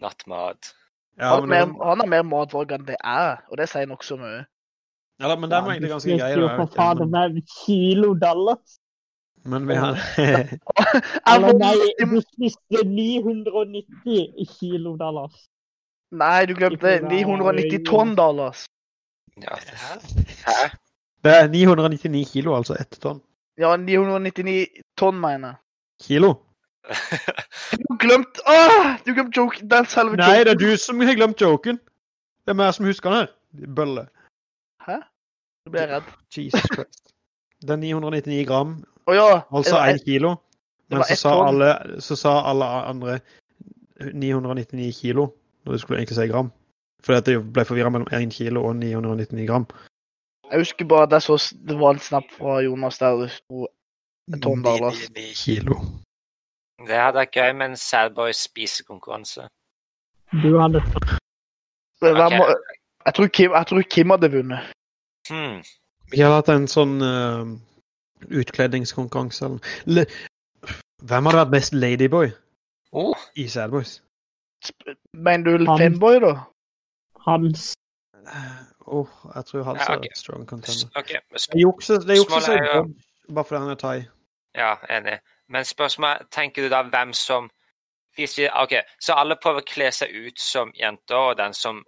S1: Nattmat.
S2: Ja,
S3: Han,
S2: men
S3: har
S2: det-
S3: mer, han har mer matvalg enn det er, og det sier nokså mye.
S2: Ja da, men den var egentlig ganske grei.
S4: jo
S2: da,
S4: for faen
S2: men,
S4: den der kilo dollars.
S2: men vi har
S3: Jeg
S4: Eller
S3: må-
S4: nei,
S3: jeg
S4: du
S3: må-
S4: spiste 990 kilo dollars.
S3: Nei, du glemte det. 990 tonn, Dallas.
S1: Ja.
S2: Det er 999 kilo, altså ett tonn.
S3: Ja, 999 tonn, mener jeg.
S2: Kilo?
S3: Du glemte Åh! Du glemte joke. Den selve
S2: Nei, det er
S3: joken.
S2: du som har glemt joken! Det er meg som husker den her. Bølle.
S3: Du ble jeg redd.
S2: Jesus Christ. Det er 999 gram,
S3: Å ja.
S2: altså
S3: det var
S2: én
S3: ett-
S2: kilo.
S3: det
S2: Men
S3: var
S2: så
S3: ett
S2: sa,
S3: tonn.
S2: alle, så sa alle andre 999 kilo, når du skulle egentlig si gram. Fordi at jeg ble forvirra mellom 1 kilo og 999 gram.
S3: Jeg husker bare at jeg så s- det var en snap fra Jonas der det sto Et tonn, da, Lars.
S2: 99 kilo.
S1: Det hadde vært gøy med en Sadboy spisekonkurranse.
S4: Du hadde
S3: Det der
S1: Ok.
S3: må- jeg, tror Kim, jeg tror Kim hadde vunnet.
S1: Hmm.
S2: Vi hadde hatt en sånn eh, utkledningskonkurranse eller Le Hvem hadde vært best ladyboy
S1: Oh,
S2: i Sadboys?
S3: Sp- Mener du
S4: Han-
S3: Fanboy, da?
S4: hans
S2: Åh, Eh, oh, jeg tror Hals
S1: Ja,
S2: er
S1: ok.
S2: et strong
S1: s-
S2: contender.
S1: OK.
S2: Det
S1: sp-
S2: jukses det jukses
S1: Spørsmålet er
S2: seg
S1: jo-
S2: bort, bare fordi han er thai.
S1: Ja, enig. Men spørsmålet Tenker du da hvem som hvis vi, OK, så alle prøver å kle seg ut som jenter, og den som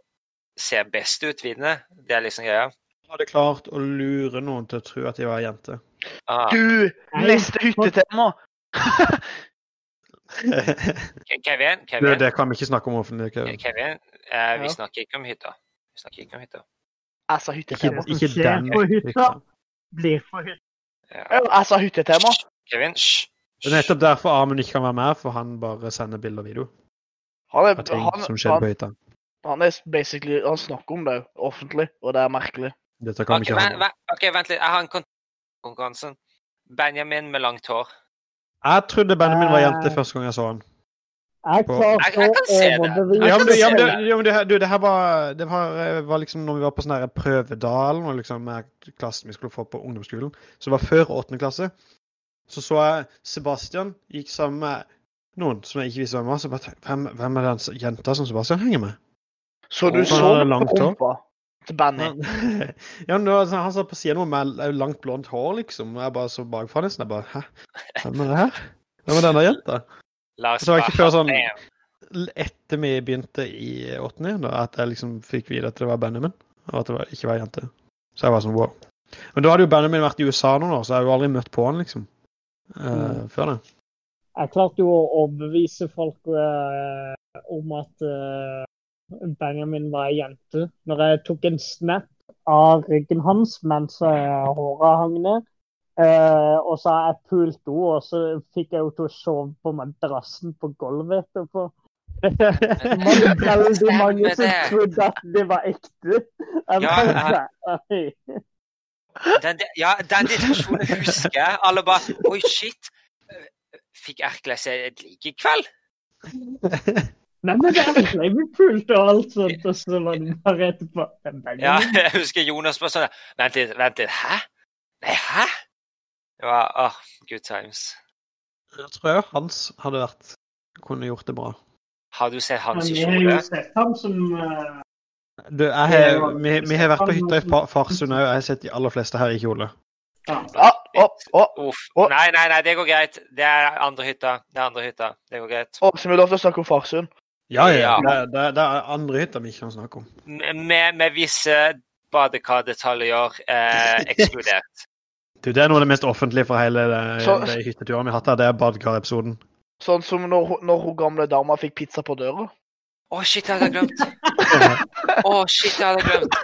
S1: ser best ut, vinner? Det er liksom greia?
S2: Han hadde klart å lure noen til å tro at de var jente.
S1: Ah.
S3: Du,
S4: Nei,
S3: neste hyttetema!
S1: Kevin,
S2: Det,
S1: Kevin,
S2: det kan vi ikke snakke om offentlig. Kevin.
S1: Kevin eh,
S4: Ja.
S1: vi snakker ikke om hytta. Vi snakker ikke om hytta.
S3: Jeg sa hyttetema.
S2: Ikke,
S4: som
S2: ikke
S4: skjer
S2: den.
S4: på hytta.
S2: liksom.
S4: Blir for høyt.
S1: Ja.
S3: Jeg sa hyttetema.
S1: Kevin, hysj.
S2: Det er nettopp derfor Amund ikke kan være med, for han bare sender bilder og video
S3: Han er,
S2: av ting
S3: han,
S2: som skjedde
S3: han,
S2: på hytta.
S3: han er basically Han snakker om det offentlig, og det er merkelig.
S2: Dette kan
S1: Ok,
S2: vi ikke ha
S1: men-
S2: med.
S1: men- ok, vent litt. Jeg har en kon- konkurransen. Benjamin med langt hår.
S2: Jeg trodde Benjamin var jente
S4: Eh.
S2: første gang jeg så han.
S4: Jeg
S1: Jeg-
S4: klarte
S1: jeg kan
S4: å
S1: se det.
S4: overbevise
S2: Ja, men, du, ja, men,
S1: det-
S2: du, ja, men det, her- du, det her var, det var, eh, var liksom når vi var på sånn her prøvedalen, og liksom med klassen vi skulle få på ungdomsskolen, så det var før åttende klasse. Så så jeg Sebastian gikk sammen med noen som jeg ikke visste hvem var, så bare tenkte jeg, hvem, hvem er den s- jenta som Sebastian henger med?
S3: Så du
S1: Hvorfor
S3: så
S2: har han langt hår?
S3: rumpa til Benny.
S2: Han, ja, men det var, sånn- han satt på siden av meg med langt blondt hår, liksom, og jeg bare så bakfra nesten, jeg bare, hæ? Hvem er det her? Hvem er denne jenta?
S1: La oss
S2: Så det var ikke
S1: bare-
S2: før sånn-
S1: Damn.
S2: etter vi begynte i åttende, da, at jeg liksom fikk vite at det var Benjamin, og at det var, ikke var ei jente. Så jeg var sånn wow. Men da hadde jo Benjamin vært i USA noen år, så jeg har jo aldri møtt på han, liksom. eh, Før det.
S4: Jeg klarte jo å overbevise folk eh, om at eh, Benjamin var ei jente. Når jeg tok en snap av ryggen hans mens eh, håret hang ned, eh, og så har jeg pult henne, og så fikk jeg henne til å sove på madrassen på gulvet etterpå. Det var veldig mange som
S1: Stemmer det.
S4: trodde at det var ekte. Jeg
S1: Ja,
S4: bare, «Oi».
S1: Den, di- ja, den diskusjonen husker jeg. Alle bare Oi, shit. Fikk Erkle seg et lik i kveld?
S4: Nei, men det er ble vi pult og alt sånt, og så var det bare etterpå. «Det er Benjamin».
S1: Ja, jeg husker Jonas bare sånn Vent litt, vent litt. Hæ? Nei, hæ? Det var åh, good times.
S2: Jeg tror jeg Hans hadde vært kunne gjort det bra.
S1: Har du sett
S4: Men
S1: hans
S4: vi har jo
S1: kjole?
S4: sett ham som eh,
S2: Du, jeg, har- vi, vi har vært på hytta i Fa- Farsund òg, og jeg har sett de aller fleste her i kjole.
S3: Ja, å, å,
S1: Uff.
S3: Å.
S1: Nei, nei, nei, det går greit. Det er andre hytta. Det er andre hytta. Det går greit.
S3: å, så vi lov til å snakke om Farsund.
S2: Ja, ja.
S1: Ja.
S2: Det, det, det er andre hytter vi ikke kan snakke om.
S1: Med, med visse badekardetaljer eh, ekskludert.
S2: Du, Det er noe av det mest offentlige fra hele det,
S3: Så-
S2: det hytteturen vi har hatt her, det er badekarepisoden.
S3: Sånn som når, hun- når hun gamle dama fikk pizza på døra.
S1: Å, shit, jeg hadde glemt. Å, shit, jeg hadde glemt.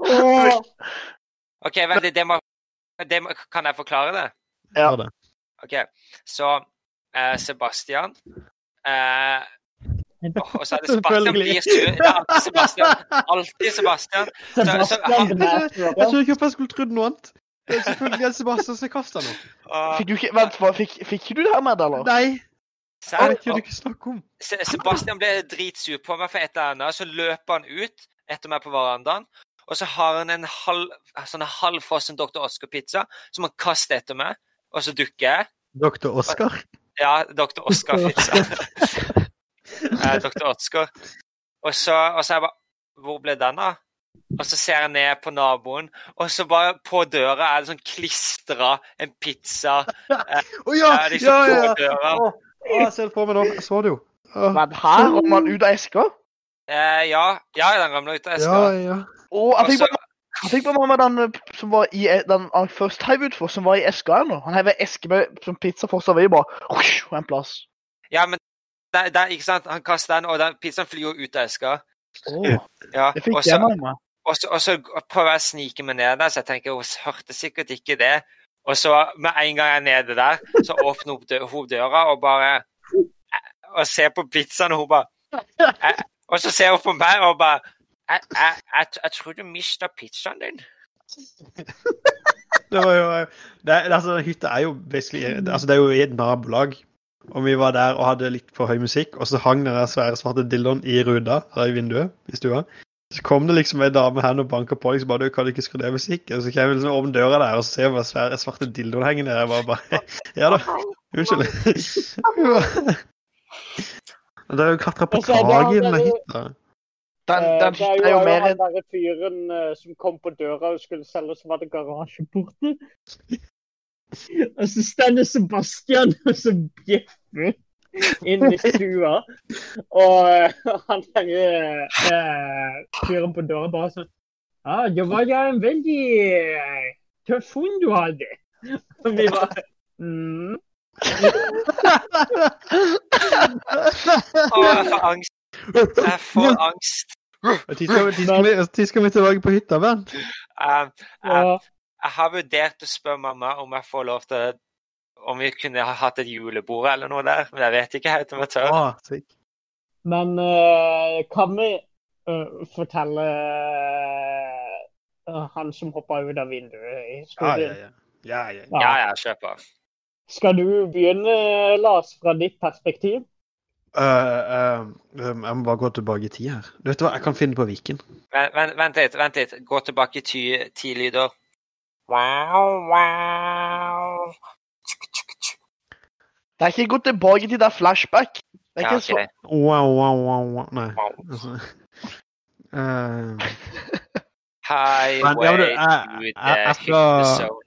S4: Åh,
S1: OK, vent litt. Det må, det må, kan jeg forklare det?
S3: Ja.
S2: Hør det.
S1: OK, så eh, Sebastian eh, åh, Og så er det Sebastian blir sur. Det er alltid Sebastian. Alltid Sebastian.
S4: Sebastian eh,
S1: så-
S4: den er
S2: Jeg
S4: fra-
S2: tror ikke jeg skulle trodd noe annet. Det er selvfølgelig at Sebastian som kaster noe.
S1: Og,
S3: Fikk du ikke Vent, hva, fikk, fikk ikke du det her med deg, eller?
S2: Nei, det
S1: sant?
S2: kan du ikke snakke om.
S1: Se- Sebastian ble dritsur på meg for et eller annet, så løper han ut etter meg på verandaen. Og så har han en halv, sånn halvfrossen Dr. Oscar-pizza som han kaster etter meg. Og så dukker jeg.
S2: Dr. Oskar.
S1: Ja, Dr. Oscar-pizza. Eh, Dr. Oscar. Og så, og så er jeg bare Hvor ble den av? Og så ser jeg ned på naboen, og så bare på døra er det sånn klistra en pizza.
S2: Å ja!
S1: Er liksom
S2: Ja, ja!
S1: på døra.
S2: Å, å, jeg ser det på meg nå. Jeg så det jo. Ah. Å,
S3: Men her om man ut av eska?
S1: Eh, ja, ja, den ramla ut av
S2: Ja,
S1: eska.
S2: ja.
S3: Og jeg
S1: Og
S3: fikk
S1: så-
S3: bare jeg fikk bare med meg den eh, som var i eh, den han først heiv utfor, som var i eska her nå. Han heiv ei eske med som pizza for seg, og vi bare husk, en plass.
S1: Ja, men der, der, ikke sant? Han kaster den, og den, pizzaen flyr jo ut av eska.
S3: Åh,
S1: Ja.
S3: det fikk
S1: Og
S3: jeg
S1: så-
S3: med meg.
S1: og så- og så prøver jeg å snike meg ned der, så jeg tenker hun hørte sikkert ikke det. Og så med en gang jeg er nede der, så åpner hun dø- hun døra og bare eh, Og ser på pizzaen, og hun bare jeg- Og så ser hun på meg og bare Jeg, jeg, jeg, jeg tror du mista pizzaen din.
S2: Det var jo det, er- altså, Hytta er jo basically det- altså, Det er jo i et nabolag. Og vi var der og hadde litt for høy musikk, og så hang den der svære svarte dildoen i ruta, eller i vinduet i stua. Så kom det liksom ei dame hen og banka på, liksom bare du kan du ikke skru ned musikken? Og så kommer jeg liksom åpne døra der, og så ser jeg den svære svarte dildoen hengende der. Jeg bare, bare Ja da. Unnskyld. Men Det er jo klatra på
S4: Altså, det er-
S2: taket i
S4: det er
S2: den
S4: jo-
S2: hytta.
S3: Den,
S4: Eh,
S3: den
S4: det er jo,
S3: er jo mer
S4: han
S3: enn
S4: derre fyren eh, som kom på døra og skulle selge, som hadde garasjeporte. Og så stender Sebastian og så bjeffer inn i stua. Og eh, han derre eh, fyren på døra bare sånn Ja, det var ja en veldig eh, tøff hund du hadde. Og vi bare mm,
S1: Å, jeg får angst. Jeg får angst.
S2: Når skal, vi- tid skal, vi- tid skal vi tilbake på hytta, Bernt?
S1: Um, um,
S4: Ja,
S1: jeg har vurdert å spørre mamma om jeg får lov til om vi kunne ha hatt et julebord eller noe der, men jeg vet ikke helt om jeg tør.
S2: Å, sick.
S4: men eh, kan vi eh, fortelle eh, han som hoppa ut av vinduet i
S2: Ja,
S4: skogen?
S2: ja, ja. ja, ja, ja.
S1: Ja, ja, kjør på.
S4: Skal du begynne, Lars, fra ditt perspektiv?
S2: Øh, øh, øh, jeg må bare gå tilbake i tid her. Du vet hva, jeg kan finne på Viken.
S1: Vent, vent, vent litt, vent litt. Gå tilbake i ti, ti lyder. Wow, wow.
S3: Det er ikke gått tilbake til det er flashback. Det er
S1: Ja,
S3: ikke
S1: ok.
S2: Wow, wow, wow, wow. Nei,
S1: Wow.
S2: altså øh, Men, ja, men du,
S1: Highway
S2: jeg-
S1: to
S2: jeg-
S1: the
S2: jeg skal-
S1: hyttezone.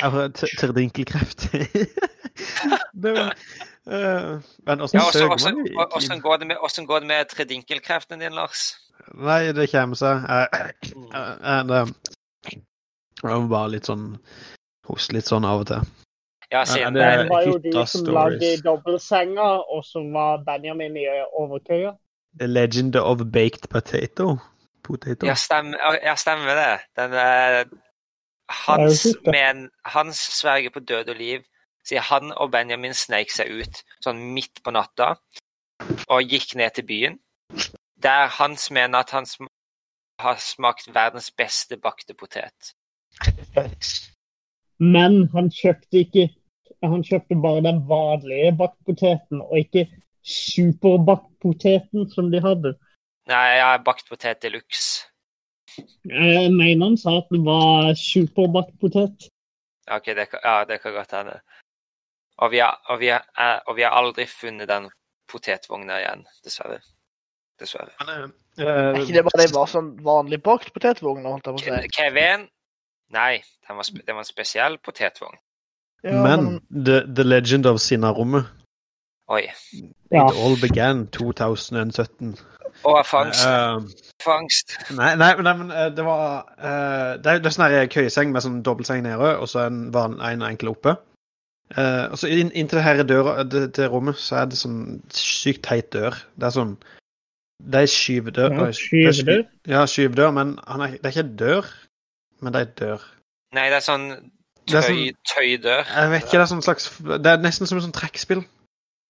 S2: Jeg har t- terdinkelkreft. det var, øh, men åssen
S1: Ja, altså, også-
S2: søker
S1: også-
S2: man i
S1: og- Hvordan går det med, hvordan går det med tredinkelkreften din, Lars?
S2: Nei, det kommer seg. Jeg, jeg, jeg, det jeg var bare litt sånn Hoste litt sånn av og til.
S1: Ja,
S2: Ja,
S1: siden
S2: det er-
S4: Det var jo du
S2: Hytta
S4: som
S2: Stories.
S4: lagde dobbeltsenga, og så var Benjamin i overkøya.
S2: The legend of baked potato. Potato.
S1: Ja, stemmer, ja, stemmer det. Den eh, Hans,
S4: Det er jo fint, det.
S1: men, Hans sverger på død og liv. Sier han og Benjamin sneik seg ut sånn midt på natta og gikk ned til byen. Der Hans mener at han sm har smakt verdens beste bakte potet.
S4: Men han kjøpte ikke Han kjøpte bare den vanlige bakpoteten, og ikke superbakpoteten som de hadde.
S1: Nei, jeg har bakt potet de luxe.
S4: Jeg Eh, mener han sa at det var superbakpotet.
S1: Ja, Ok, det kan, ja, det kan godt hende. Og vi, har, og, vi har, eh, og vi har aldri funnet den potetvogna igjen, dessverre. Dessverre.
S2: Men, øh,
S3: Er ikke det bare det var sånn vanlig bakt potetvogn? holdt jeg på å si?
S1: Ke- Kevin? Nei, den var, spe- den var en spesiell potetvogn.
S3: Ja,
S2: men the, the legend of Sinnarommet.
S1: Oi.
S4: Ja.
S2: It all began 2017.
S1: Og fangst.
S2: Eh,
S1: Fangst.
S2: nei, nei, men- nei, men eh, det var eh, Det er det er sånn her køyeseng med sånn dobbeltseng nede og så en, van, en enkel oppe. Eh, og så inn, inn til det her døra eh, det, det rommet så er det sånn sykt teit dør. Det er sånn Det er skyvedør.
S4: Ja,
S2: øh,
S4: skyvedør.
S2: Ja, skyvedør, men han er, det er ikke en dør, men det er en dør.
S1: Nei, det er sånn
S2: Det er sånn-
S1: tøy, tøydør.
S2: Jeg vet ikke, det er sånn slags Det er nesten som et sånt trekkspill.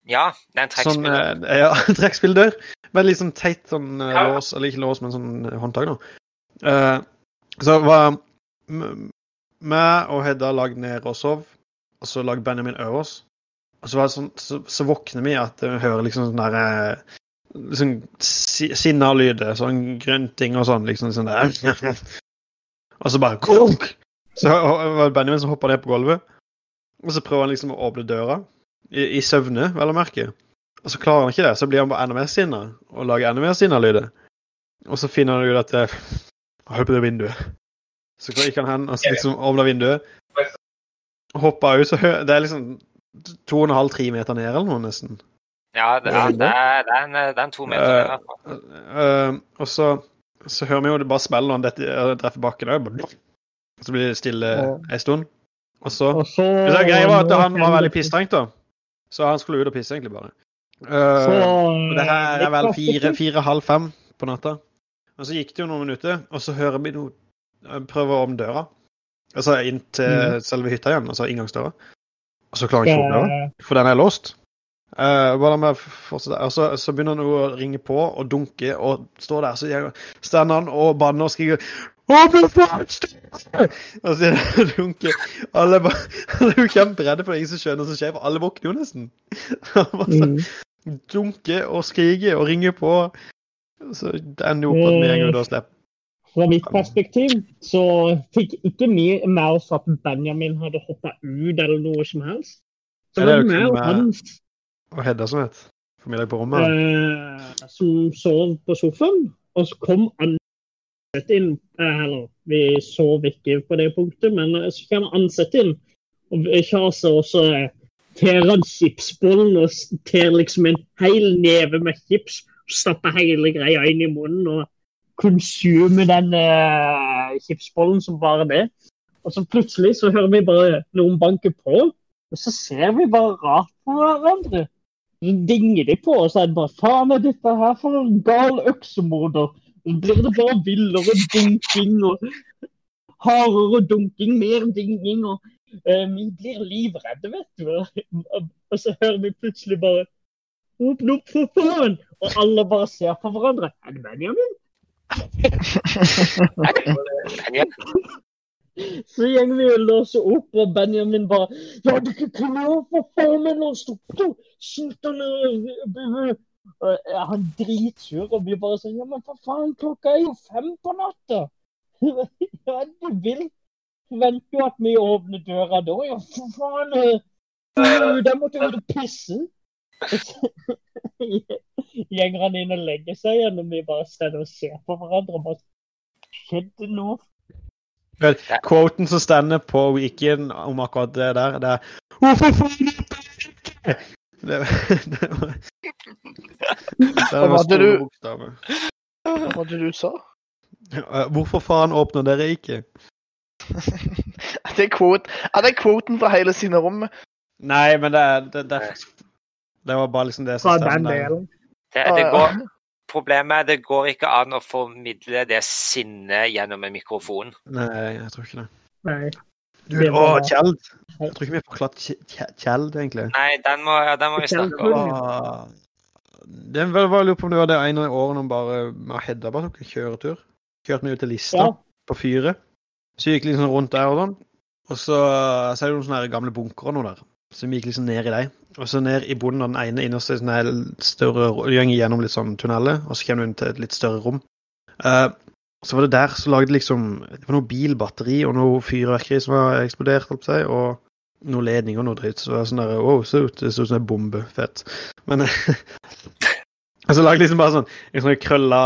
S1: Ja, det er en
S2: Sånn,
S1: trekkspiller.
S2: eh, ja, trekkspilldør. Veldig sånn teit sånn eh,
S1: Ja, ja.
S2: lås, eller ikke lås, men sånn eh, håndtak, da. Eh, så var m- meg og Hedda lagd ned og sov, og så lagde Benjamin over oss. Og så, var det sånn, så, så våkner vi at vi hører liksom sånn derre liksom, si, Sinna-lyder, sånn grønting og sånn, liksom sånn der. og så bare klunk! Så var det Benjamin som hoppa ned på gulvet, og så prøver han liksom å åpne døra. I, i søvne, vel å merke. Og så klarer han ikke det, så blir han bare enda mer sinna og lager enda mer sinna-lyder. Og så finner han ut at eh, Hold på det vinduet. Så gikk han hen og så liksom åpna vinduet. Hoppa ut, så hø- Det er liksom to og en halv, tre meter ned eller noe, nesten.
S1: Ja, det er, det er, det er, en, det er en to meter.
S2: Eh,
S1: i hvert fall.
S2: Eh, og så, så hører vi jo det bare smeller når han detter- eh, treffer bakken òg. Så blir det stille ei stund. Og så
S4: Og så
S2: Men så Greia var at han var veldig pisstrengt, da. Så han skulle ut og pisse, egentlig, bare. Eh,
S4: Så, Mm.
S2: Og det her er vel
S4: Niklas,
S2: fire, fire halv fem på natta. Og så gikk det jo noen minutter, og så hører vi noe Prøver å åpne døra. Altså inn til selve hytta igjen, altså inngangsdøra. Og så klarer han ikke å åpne døra,
S4: det-
S2: for den er låst. Eh, bare la meg fortsette. Og så, så begynner han å ringe på og dunke og står der. Så jeg- stender han og banner og skriker Åpne først! Og så dunker alle bare Alle er jo kjemperedde for det, er ingen som skjønner hva som skjer, for alle våkner jo nesten. Bare så-
S4: Mm.
S2: dunke og skrike og ringe på. Så det ender jo opp at vi en gang da
S4: Eh.
S2: slipper.
S4: Fra mitt perspektiv så fikk ikke vi med oss at Benjamin hadde hoppa ut eller noe som helst. Så
S2: Ja,
S4: det
S2: det er
S4: var
S2: jo
S4: meg
S2: kun
S4: og
S2: med-
S4: Hans
S2: Og Hedda som het. For middag på rommet.
S4: eh, som sov på sofaen, og så kom ansatte inn. Eh, eller, vi sov ikke på det punktet, men eh, så kom ansatte inn. Og vi- Kjase også eh, ter han chipsbollen og s- ter liksom en hel neve med chips. Stapper hele greia inn i munnen og konsumer den eh, chipsbollen som bare det. Og så plutselig så hører vi bare noen banke på, Og så ser vi bare rart på hverandre. Så dinger de på oss og er bare 'faen er dette her for en gal øksemorder'? Så blir det bare villere dunking og hardere dunking, mer dinging og eh, Vi blir livredde, vet du. Og så hører vi plutselig bare 'opp, opp, for faen', og alle bare ser på hverandre. Er det Benjamin?
S1: Benjamin,
S4: Så gjenger vi og låser opp, og Benjamin bare 'Ja, du kan komme over, for faen, men lås opp, du! Slutt å lø- bu- bu!» Og jeg- Han er dritsur og blir bare sånn 'Ja, men for faen, klokka er jo fem på natta!' Hva er det du vil? Venter jo at vi åpner døra da, ja, for faen! eh, du, Der måtte du ut og pisse! Og så Gjenger han inn og legger seg igjen, og vi bare står og ser på hverandre og bare Skjedde noe
S2: Quoten som stender på Weekend om akkurat det der, det er Hvorfor får du ikke det? Det det var Det
S3: Hva
S2: var
S3: hadde
S2: store
S3: du-
S2: bokstaver.
S3: Hva var det du sa?
S2: Eh, Hvorfor faen åpner dere ikke?
S3: Er det, quote, er det quoten fra hele sine rom?
S2: Nei, men det er Det, det, det var bare liksom det som
S4: fra den
S2: stemmer.
S4: delen.
S1: det, det går, problemet er det går ikke an å formidle det sinnet gjennom en mikrofon.
S2: Nei, jeg tror ikke det.
S4: Nei.
S2: Du,
S4: Det
S2: å,
S4: var-
S2: Kjeld! Jeg tror ikke vi har forklart Kje- Kje- Kjeld, egentlig.
S1: Nei, den må, ja, den må vi snakke om.
S2: Åh. Det er vel bare lurer på om det var det ene året han bare med Hedda bare tok en kjøretur. Kjørte meg ut til Lista
S4: Ja.
S2: på fyret. Så gikk liksom rundt der og sånn. Og så, så er det noen sånne her gamle bunkere nå der. Som gikk liksom ned i deg. Og så ned i bunnen av den ene innerste sånn her større ro- Du går gjennom litt sånn tunneler, og så kommer du inn til et litt større rom. Eh, så var det der så lagde liksom Det var noe bilbatteri og noe fyrverkeri som var eksplodert, holdt på å si. Og noe ledning og noe dritt. Så det var sånn der, wow, så ut, det så ut som en bombe. Fett. Men Og så lagde jeg liksom bare sånn en sånn krølla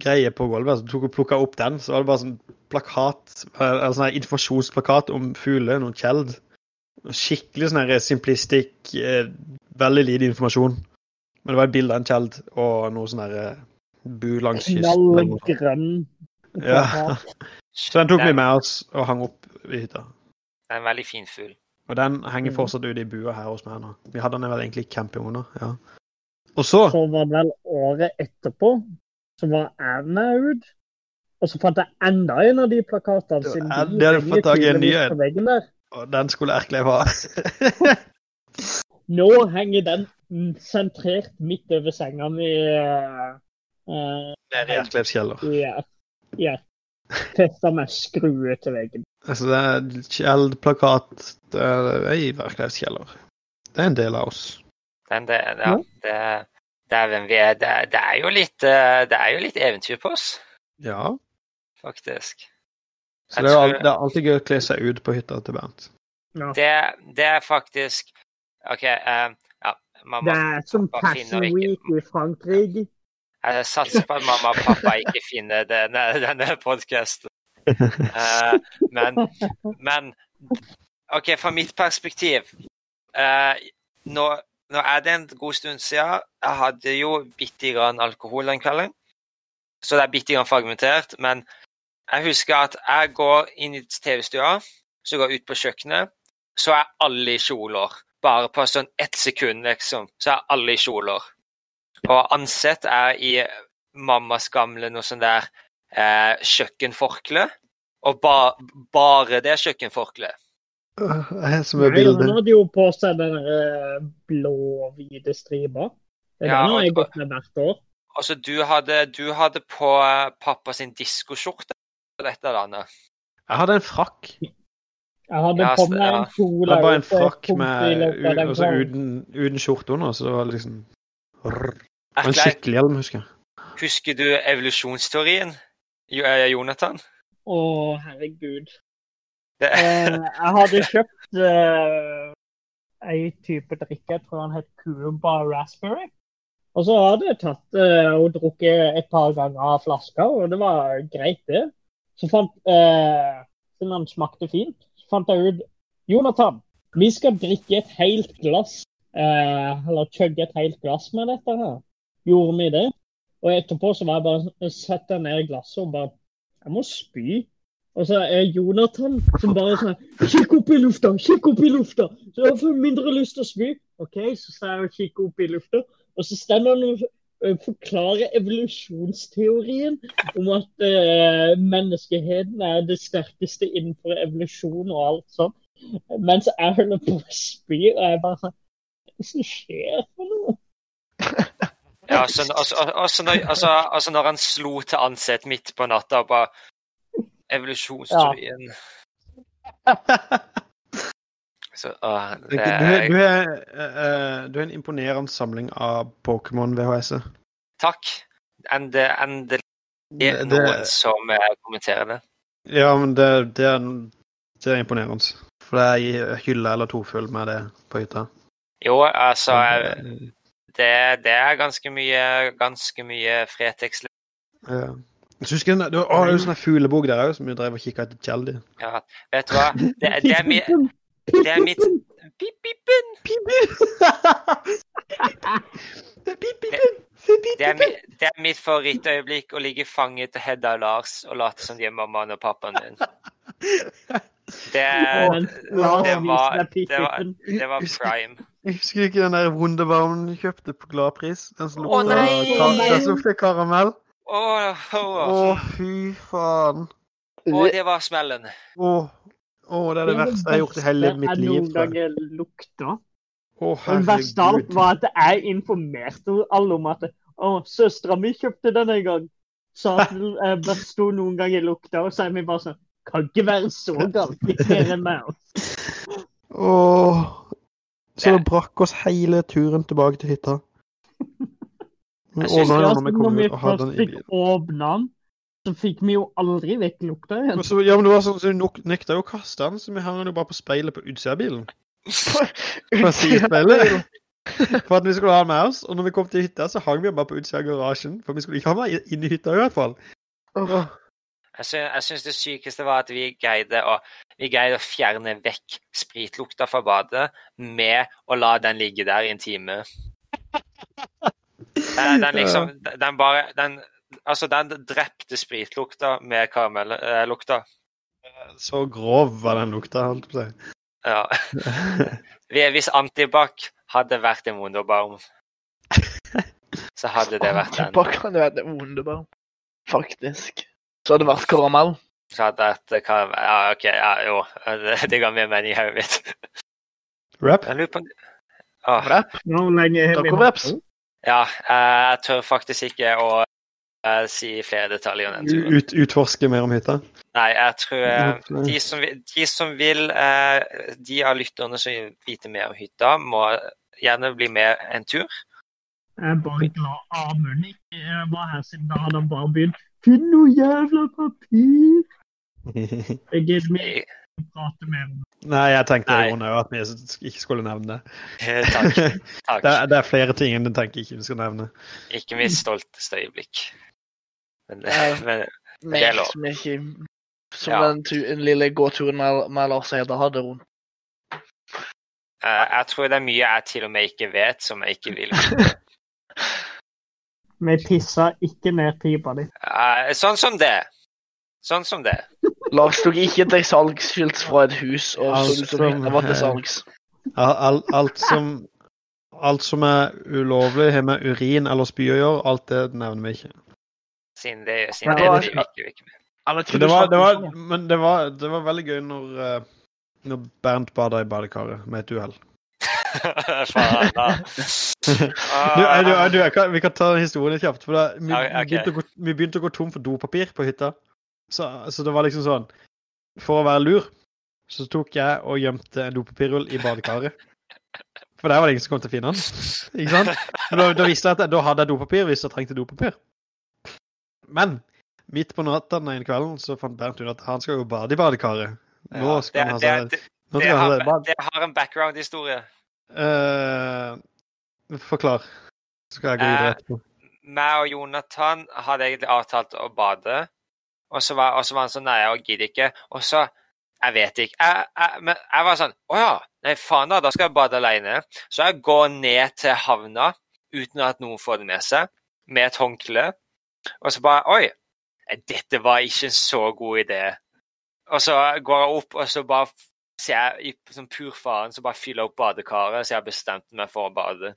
S2: greie på gulvet. Så tok og plukka opp den. Så var det bare sånn plakat, eller sånn her informasjonsplakat om fugler, noen Kjeld. Skikkelig sånn her simplistikk, eh, veldig lite informasjon. Men det var et bilde av en Kjeld og noe sånn her eh, bu langs kysten.
S4: Knallgrønn.
S2: Ja. Så den tok vi med oss og hang opp i hytta.
S1: Det er en veldig fin fugl.
S2: Og den henger
S4: Mhm.
S2: fortsatt ute i bua her hos meg nå. Vi hadde den vel egentlig i camping under. ja. Og så
S4: Så var det vel året etterpå, så var Erna ut. Og så fant jeg enda en av de plakatene
S2: Det
S4: siden
S2: var- det hadde fått tak i en ny en.
S4: på veggen der.
S2: og Den skulle Erklev ha.
S4: Nå henger den mm, sentrert midt over senga mi eh, eh,
S2: Nede i Erklevs kjeller.
S4: i ja. Festa med skrue til veggen.
S2: Altså, det er Kjeld-plakat det er i Erklevs kjeller. Det er en del av oss.
S1: Men det, ja,
S4: Ja.
S1: det, det er hvem vi er. Det, det, er jo litt, eh, det er jo litt eventyr på oss,
S2: Ja.
S1: faktisk.
S2: Så
S1: Jeg
S2: det er, jo al-
S1: tror-
S2: det er alltid gøy å kle seg ut på hytta til Bernt.
S1: Det, det er faktisk OK, eh, ja.
S4: Det
S1: Mamma,
S4: er som
S1: Hva finner
S4: Passion
S1: vi ikke?
S4: Week i Frankrike.
S1: jeg Eh, satser på at mamma og pappa ikke finner denne, denne podkasten. men, men OK, fra mitt perspektiv eh, nå, nå er det en god stund siden. Jeg hadde jo bitte grann alkohol den kvelden, så det er bitte grann fragmentert. Men jeg husker at jeg går inn i TV-stua, så går jeg ut på kjøkkenet, så er alle i kjoler. Bare på sånn ett sekund, liksom, så er alle i kjoler. Og ansett er i mammas gamle noe sånn der eh, kjøkkenforkle. Og ba, bare det kjøkkenforkleet.
S2: Øh, Jeg har så mye
S4: Nei, altså, han
S2: bilder.
S4: hadde jo på seg den eh, blå-hvite stripa. Den
S1: Ja,
S4: har jeg
S1: og-
S4: gått med hvert år.
S1: Altså, du hadde, du hadde på eh, pappa sin diskoskjorte på dette landet.
S2: Jeg hadde en frakk.
S4: Jeg hadde
S1: Ja,
S4: på
S1: så-
S4: meg
S1: ja.
S4: en kjole.
S2: Det var bare en
S4: og så
S2: frakk
S4: kom til
S2: med,
S4: å
S2: u-
S4: være den
S2: altså,
S4: gang.
S2: uten, uten skjorte under, så det var liksom Rrr. Det var En
S1: Erklæ,
S2: skikkelig hjelm, husker jeg.
S1: husker du evolusjonsteorien, Jo- eh, Jonathan?
S4: Å, herregud.
S1: Det,
S4: Eh, jeg hadde kjøpt eh, ei type drikke, jeg tror han het Cuba Raspberry. Og så hadde jeg tatt eh, og drukket et par ganger av flaska, og det var greit, det. Så fant eh, Siden han smakte fint, så fant jeg ut Jonathan, vi skal drikke et helt glass. Eh, eller chugge et helt glass med dette her. Gjorde vi det. Og etterpå så var jeg bare sånn, satt jeg ned i glasset og bare Jeg må spy. Og så er Jonathan som bare sånn Kikk opp i lufta! Kikk opp i lufta! Så jeg får mindre lyst til å spy. OK, så sa jeg å kikke opp i lufta, og så står han og ø, forklarer eh, evolusjonsteorien om at ø, menneskeheten er det sterkeste innenfor evolusjon og alt sånt. Mens jeg holder på å spy, og jeg bare sånn Hva er det som skjer for noe?
S1: Ja, altså, altså, altså, når, altså, altså når han slo til ansett midt på natta og bare Evolusjonsteorien Så, åh,
S2: Du,
S1: det
S2: du,
S1: er,
S2: du, er, eh, du er en imponerende samling av Pokémon-VHS-er.
S1: Takk. Ende, endelig er det noen som eh, kommenterer det.
S2: Ja, men det, det, er, det er imponerende. For det er ei hylle eller to full med det på hytta.
S1: Jo, altså jeg- det, det er ganske mye, ganske mye Fretex.
S2: Ja. Så husker jeg, den- det var å, det er jo sånn her fuglebok der òg, som vi drev og kikka etter Kjeld i.
S1: Ja, vet du hva? Det, det, er, mi, det er mitt pip, pip, pip. Det, er, mi- det er mitt favorittøyeblikk å ligge fanget til Hedda og Lars og late som de er mammaen og pappaen din. Det, er-
S4: Men Lars
S1: det var-
S4: viser meg
S1: det var-
S4: pikken.
S1: det var prime.
S2: Jeg husker du ikke den der Wunderbaum du kjøpte på Gladpris? Den som
S1: Å,
S2: lukta
S1: nei!
S2: kar- den som lukta karamell?
S1: Åh,
S2: Å,
S1: åh,
S2: fy faen.
S1: åh, det var smellen.
S2: Å, å, det er det verste jeg har gjort i hele mitt liv. tror jeg.
S4: Jeg noen ganger lukta.
S2: Å,
S4: Og det verste av alt
S2: herregud.
S4: var at jeg informerte alle om at å, søstera mi kjøpte den en gang. Så at den eh, besto noen ganger lukta, og så er vi bare sånn Kan ikke være så galt. Litt mer enn meg. altså.
S2: Åh. Så det brakk oss hele turen tilbake til hytta.
S1: Jeg
S2: Men
S1: synes
S2: ordna
S1: det
S2: jo
S1: var
S2: når vi
S4: når
S2: kom
S4: vi
S2: ut og hadde
S4: først
S2: den i
S4: fikk
S2: bilen.
S4: åpna den, så fikk vi jo aldri vekk lukta igjen.
S2: Men så- Ja, men det var sånn, så Du nekta jo å kaste den, så vi hang den jo bare på speilet på utsida av bilen. På sidespeilet. For at vi skulle ha den med oss. Og når vi kom til hytta, så hang vi den bare på utsida av garasjen. For vi skulle ikke ha den i- inne i hytta i hvert fall.
S3: Åh,
S1: Jeg syns, jeg syns det sykeste var at vi greide å, vi greide å fjerne vekk spritlukta fra badet med å la den ligge der i en time. Eh, Den liksom Den bare den, Altså, den drepte spritlukta med eh, karamellukta.
S2: Så grov var den lukta, holdt jeg
S1: Ja.
S2: på å si.
S1: Vi- Hvis Antibac hadde vært en wunderbaum, så hadde det vært den.
S3: Antibac hadde vært en wunderbar. Faktisk. Så hadde det vært karamell.
S1: Så hadde det vært karam- Ja, OK, ja, jo. Det, det ga mer mening i hodet mitt.
S2: Rap?
S1: Jeg lurer på om- Åh.
S3: Wrap.
S4: Hvor lenge har vi
S3: Taco-wraps.
S1: Ja, eh, jeg tør faktisk ikke å eh, si flere detaljer om den turen.
S2: Ut, utforske mer om hytta?
S1: Nei, jeg tror eh,
S2: Mm.
S1: de som, vil- de som vil, eh, de av lytterne som vil vite mer om hytta, må gjerne bli med en tur.
S4: Jeg er bare glad Amund ikke eh, var her siden da hadde han bare begynt. Finn noe jævla papir!
S2: Nei,
S4: Jeg gidder
S2: Mm.
S1: Eh,
S4: ikke å prate mer om det.
S2: jeg tenkte
S1: Nei.
S2: jo nå at vi ikke skulle nevne det.
S1: Eh, Takk.
S2: det,
S1: takk.
S2: er, det er flere ting enn du tenker ikke vi skal nevne.
S1: Ikke mitt stolteste øyeblikk. Men,
S3: Ja.
S1: men
S3: Med,
S1: Det er lov.
S3: som ikke, som
S1: Ja.
S3: den, tu, den lille gåturen med, med Lars og Hedda hadde rundt.
S1: eh, jeg tror det er mye jeg til og med ikke vet, som jeg ikke vil vite.
S4: Vi pissa ikke ned pipa di.
S1: Eh, sånn som det. Sånn som det.
S3: Lars tok ikke til salgsskilt fra et hus, og
S2: Altså,
S3: så ut som det var til salgs.
S2: Al- al- alt, som, alt som er ulovlig, har med urin eller spy å gjøre. Alt det nevner vi ikke.
S1: Siden det,
S3: Men
S1: siden det,
S3: hva-
S1: det, det, det, det
S3: Eller,
S2: Men det var, det var, men det var, det var veldig gøy når, eh, når Bernt bada i badekaret med et uhell.
S1: Faen, da.
S2: Du, eh, du, eh, du, jeg kan, vi kan ta den historien kjapt. For da, vi,
S1: Ja, ok.
S2: begynte å gå, vi begynte å gå tom for dopapir på hytta. Så, så det var liksom sånn For å være lur, så tok jeg og gjemte en dopapirrull i badekaret. For der var det ingen som kom til å finne den. Ikke sant? Men Da, da visste jeg at jeg, da hadde jeg dopapir hvis jeg trengte dopapir. Men midt på natta den ene kvelden så fant Bernt ut at han skal jo bade i badekaret. Nå skal han ha
S1: det,
S2: seg
S1: det,
S2: nå
S1: det,
S2: skal han altså ha
S1: har,
S2: seg bad.
S1: det har en background-historie.
S2: Eh, forklar. Så skal jeg gå videre
S1: Eh,
S2: etterpå.
S1: Meg og Jonathan hadde egentlig avtalt å bade, og så var, og så var han sånn Nei, jeg gidder ikke. Og så Jeg vet ikke. Jeg, jeg, men jeg var sånn Å ja, nei faen da, da skal jeg bade alene. Så jeg går ned til havna uten at noen får det med seg, med et håndkle, og så bare Oi, dette var ikke en så god idé. Og så går jeg opp, og så bare ser jeg i som pur faren, så bare fyller jeg opp badekaret, så jeg har bestemt meg for å bade.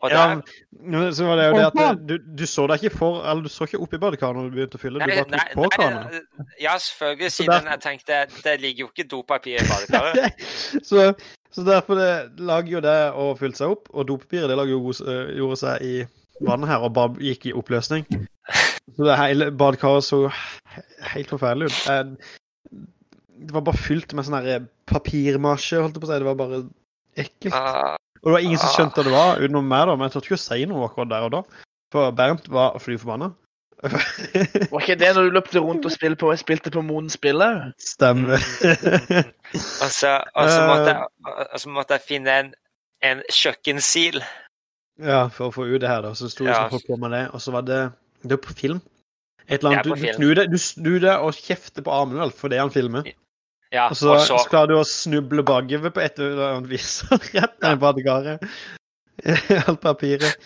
S1: Og
S2: Ja,
S1: der,
S2: men så var det jo det at eh, du, du så deg ikke for Eller du så ikke opp i badekaret når du begynte å fylle, du bare tok på kranen.
S1: ja, selvfølgelig,
S2: Så
S1: siden
S2: der-
S1: jeg tenkte det ligger jo ikke dopapir i badekaret.
S2: så, så derfor det lager jo det å fylle seg opp, og dopapiret det lager jo, eh, gjorde seg i vannet her og bare gikk i oppløsning. Så det hele badekaret så he- helt forferdelig ut. Eh, Det var bare fylt med sånn her papirmasje, holdt jeg på å si. Det var bare ekkelt.
S1: Ah,
S2: Og det var ingen som
S1: Ah.
S2: skjønte hva det var, utenom meg, da. Men jeg turte ikke å si noe akkurat der og da. For Bernt var fly forbanna.
S3: Var ikke det når du løpte rundt og spilte på, spilte på Moden spillet?
S2: Stemmer.
S1: Mm. og, så, og, så måtte
S2: Eh.
S1: jeg, og så måtte jeg finne en, en kjøkkensil.
S2: ja, for å få ut det her, da, så sto det
S1: Ja.
S2: sånn folk på med det. Og så var det Det er på film. Et eller annet,
S1: Det er på
S2: du, du,
S1: film.
S2: snur deg, du snur deg og kjefter på armen vel, for det han filmer.
S1: Ja,
S2: Og så, så klarer du å snuble bakover på et eller annet vis. Rett ned i badekaret. Alt papiret.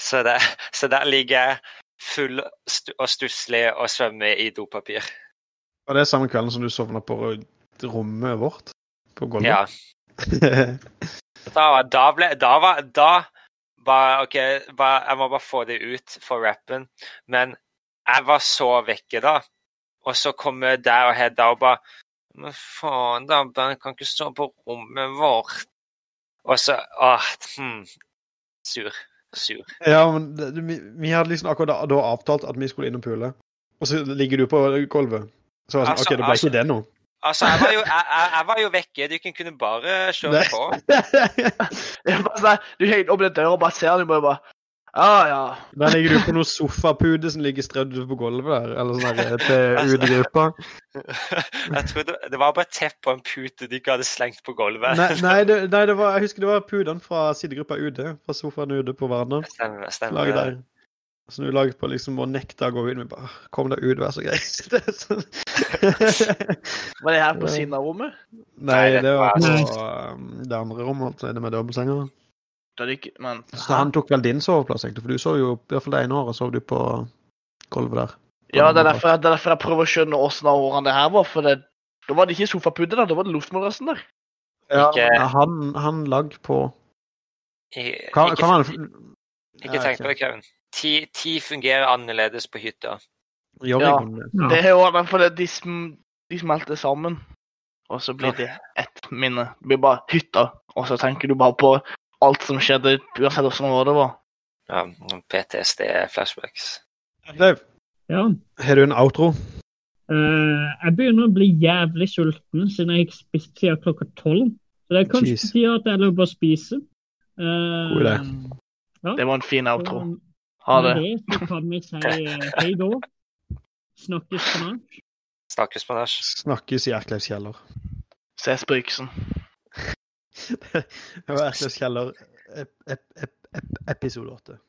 S1: Så der, så der ligger jeg full stu- og stusslig og svømmer i dopapir.
S2: Og det er samme kvelden som du sovna på rommet vårt. På
S1: Ja.
S2: gulvet.
S1: Da, var- da ble Da var Da bare OK, bare, jeg må bare få det ut for rappen. Men jeg var så vekke da. Og så kommer der og Hedda og bare Men faen, da, Bernt kan ikke stå på rommet vårt. Og så Åh, hm. Sur. Sur.
S2: Ja, men det, vi, vi hadde liksom akkurat da, da avtalt at vi skulle inn og pule. Og så ligger du på gulvet. Så var det sånn,
S1: Altså,
S2: OK, det ble
S1: altså-
S2: ikke det nå.
S1: Altså, jeg var jo, jeg, jeg, jeg var jo vekke. Du kunne- kunne bare kjøre
S2: Nei.
S1: på.
S3: Jeg bare sånn, Du henger opp den døra og bare ser den, og bare Ja, ja.
S2: Der ligger du på noen sofapude som ligger strødd på gulvet der, eller sånn der til utegrupa.
S1: jeg trodde, det var bare et tepp og en pute de ikke hadde slengt på gulvet.
S2: Nei, nei, det, nei det var, jeg husker det var pudene fra sidegruppa UD, fra sofaen UD på Varna.
S1: Stemmer, stemmer.
S2: Laget der. Så du laget på liksom å nekte å gå ut. Vi bare Kom deg ut, vær så grei. Det er sånn.
S3: Var det her på siden av rommet?
S2: Nei,
S1: Nei,
S2: det var
S4: dette var-
S2: på um, det andre rommet, holdt jeg på å si, det med dobbeltsenger.
S3: Da er det ikke Men
S2: Så han tok vel din soveplass, egentlig, for du sov jo i hvert fall det ene året sov du på gulvet der.
S3: Ja, det er derfor jeg, det er derfor jeg prøver å skjønne åssen av årene det her var. For det, da var det ikke sofapute, da. Da var det luftmadrassen der.
S2: Ja,
S1: Ikke-
S2: men han, han lag på
S1: I-
S2: Kan,
S1: ikke
S2: kan han
S1: ikke tenk
S2: Eh,
S1: på det, Kevin. Ti, ti fungerer annerledes på hytta.
S2: Gjør
S3: Ja.
S2: han det?
S3: Det er jo derfor det, de, sm, de smelter sammen. Og så blir det ett minne. Det blir bare hytta. Og så tenker du bare på alt som skjedde, uansett åssen år det var.
S1: Ja, PTSD-flashbacks.
S2: Leif,
S4: Ja.
S2: har du en outro?
S4: Eh, jeg begynner å bli jævlig sulten siden jeg ikke spiste siden klokka tolv. Så det er kanskje
S2: Jeez.
S4: på tide at jeg løper og spiser. Eh,
S2: God idé.
S3: Det var en fin outro.
S4: og
S3: Ha det.
S4: med det så kan vi si eh, hei da. Snakkes snart.
S1: Snakkes på nach.
S2: Snakkes i Erklevs kjeller.
S3: Ses på Yksen.
S2: Det var Erklevs kjeller ep- ep- ep- ep- episode åtte.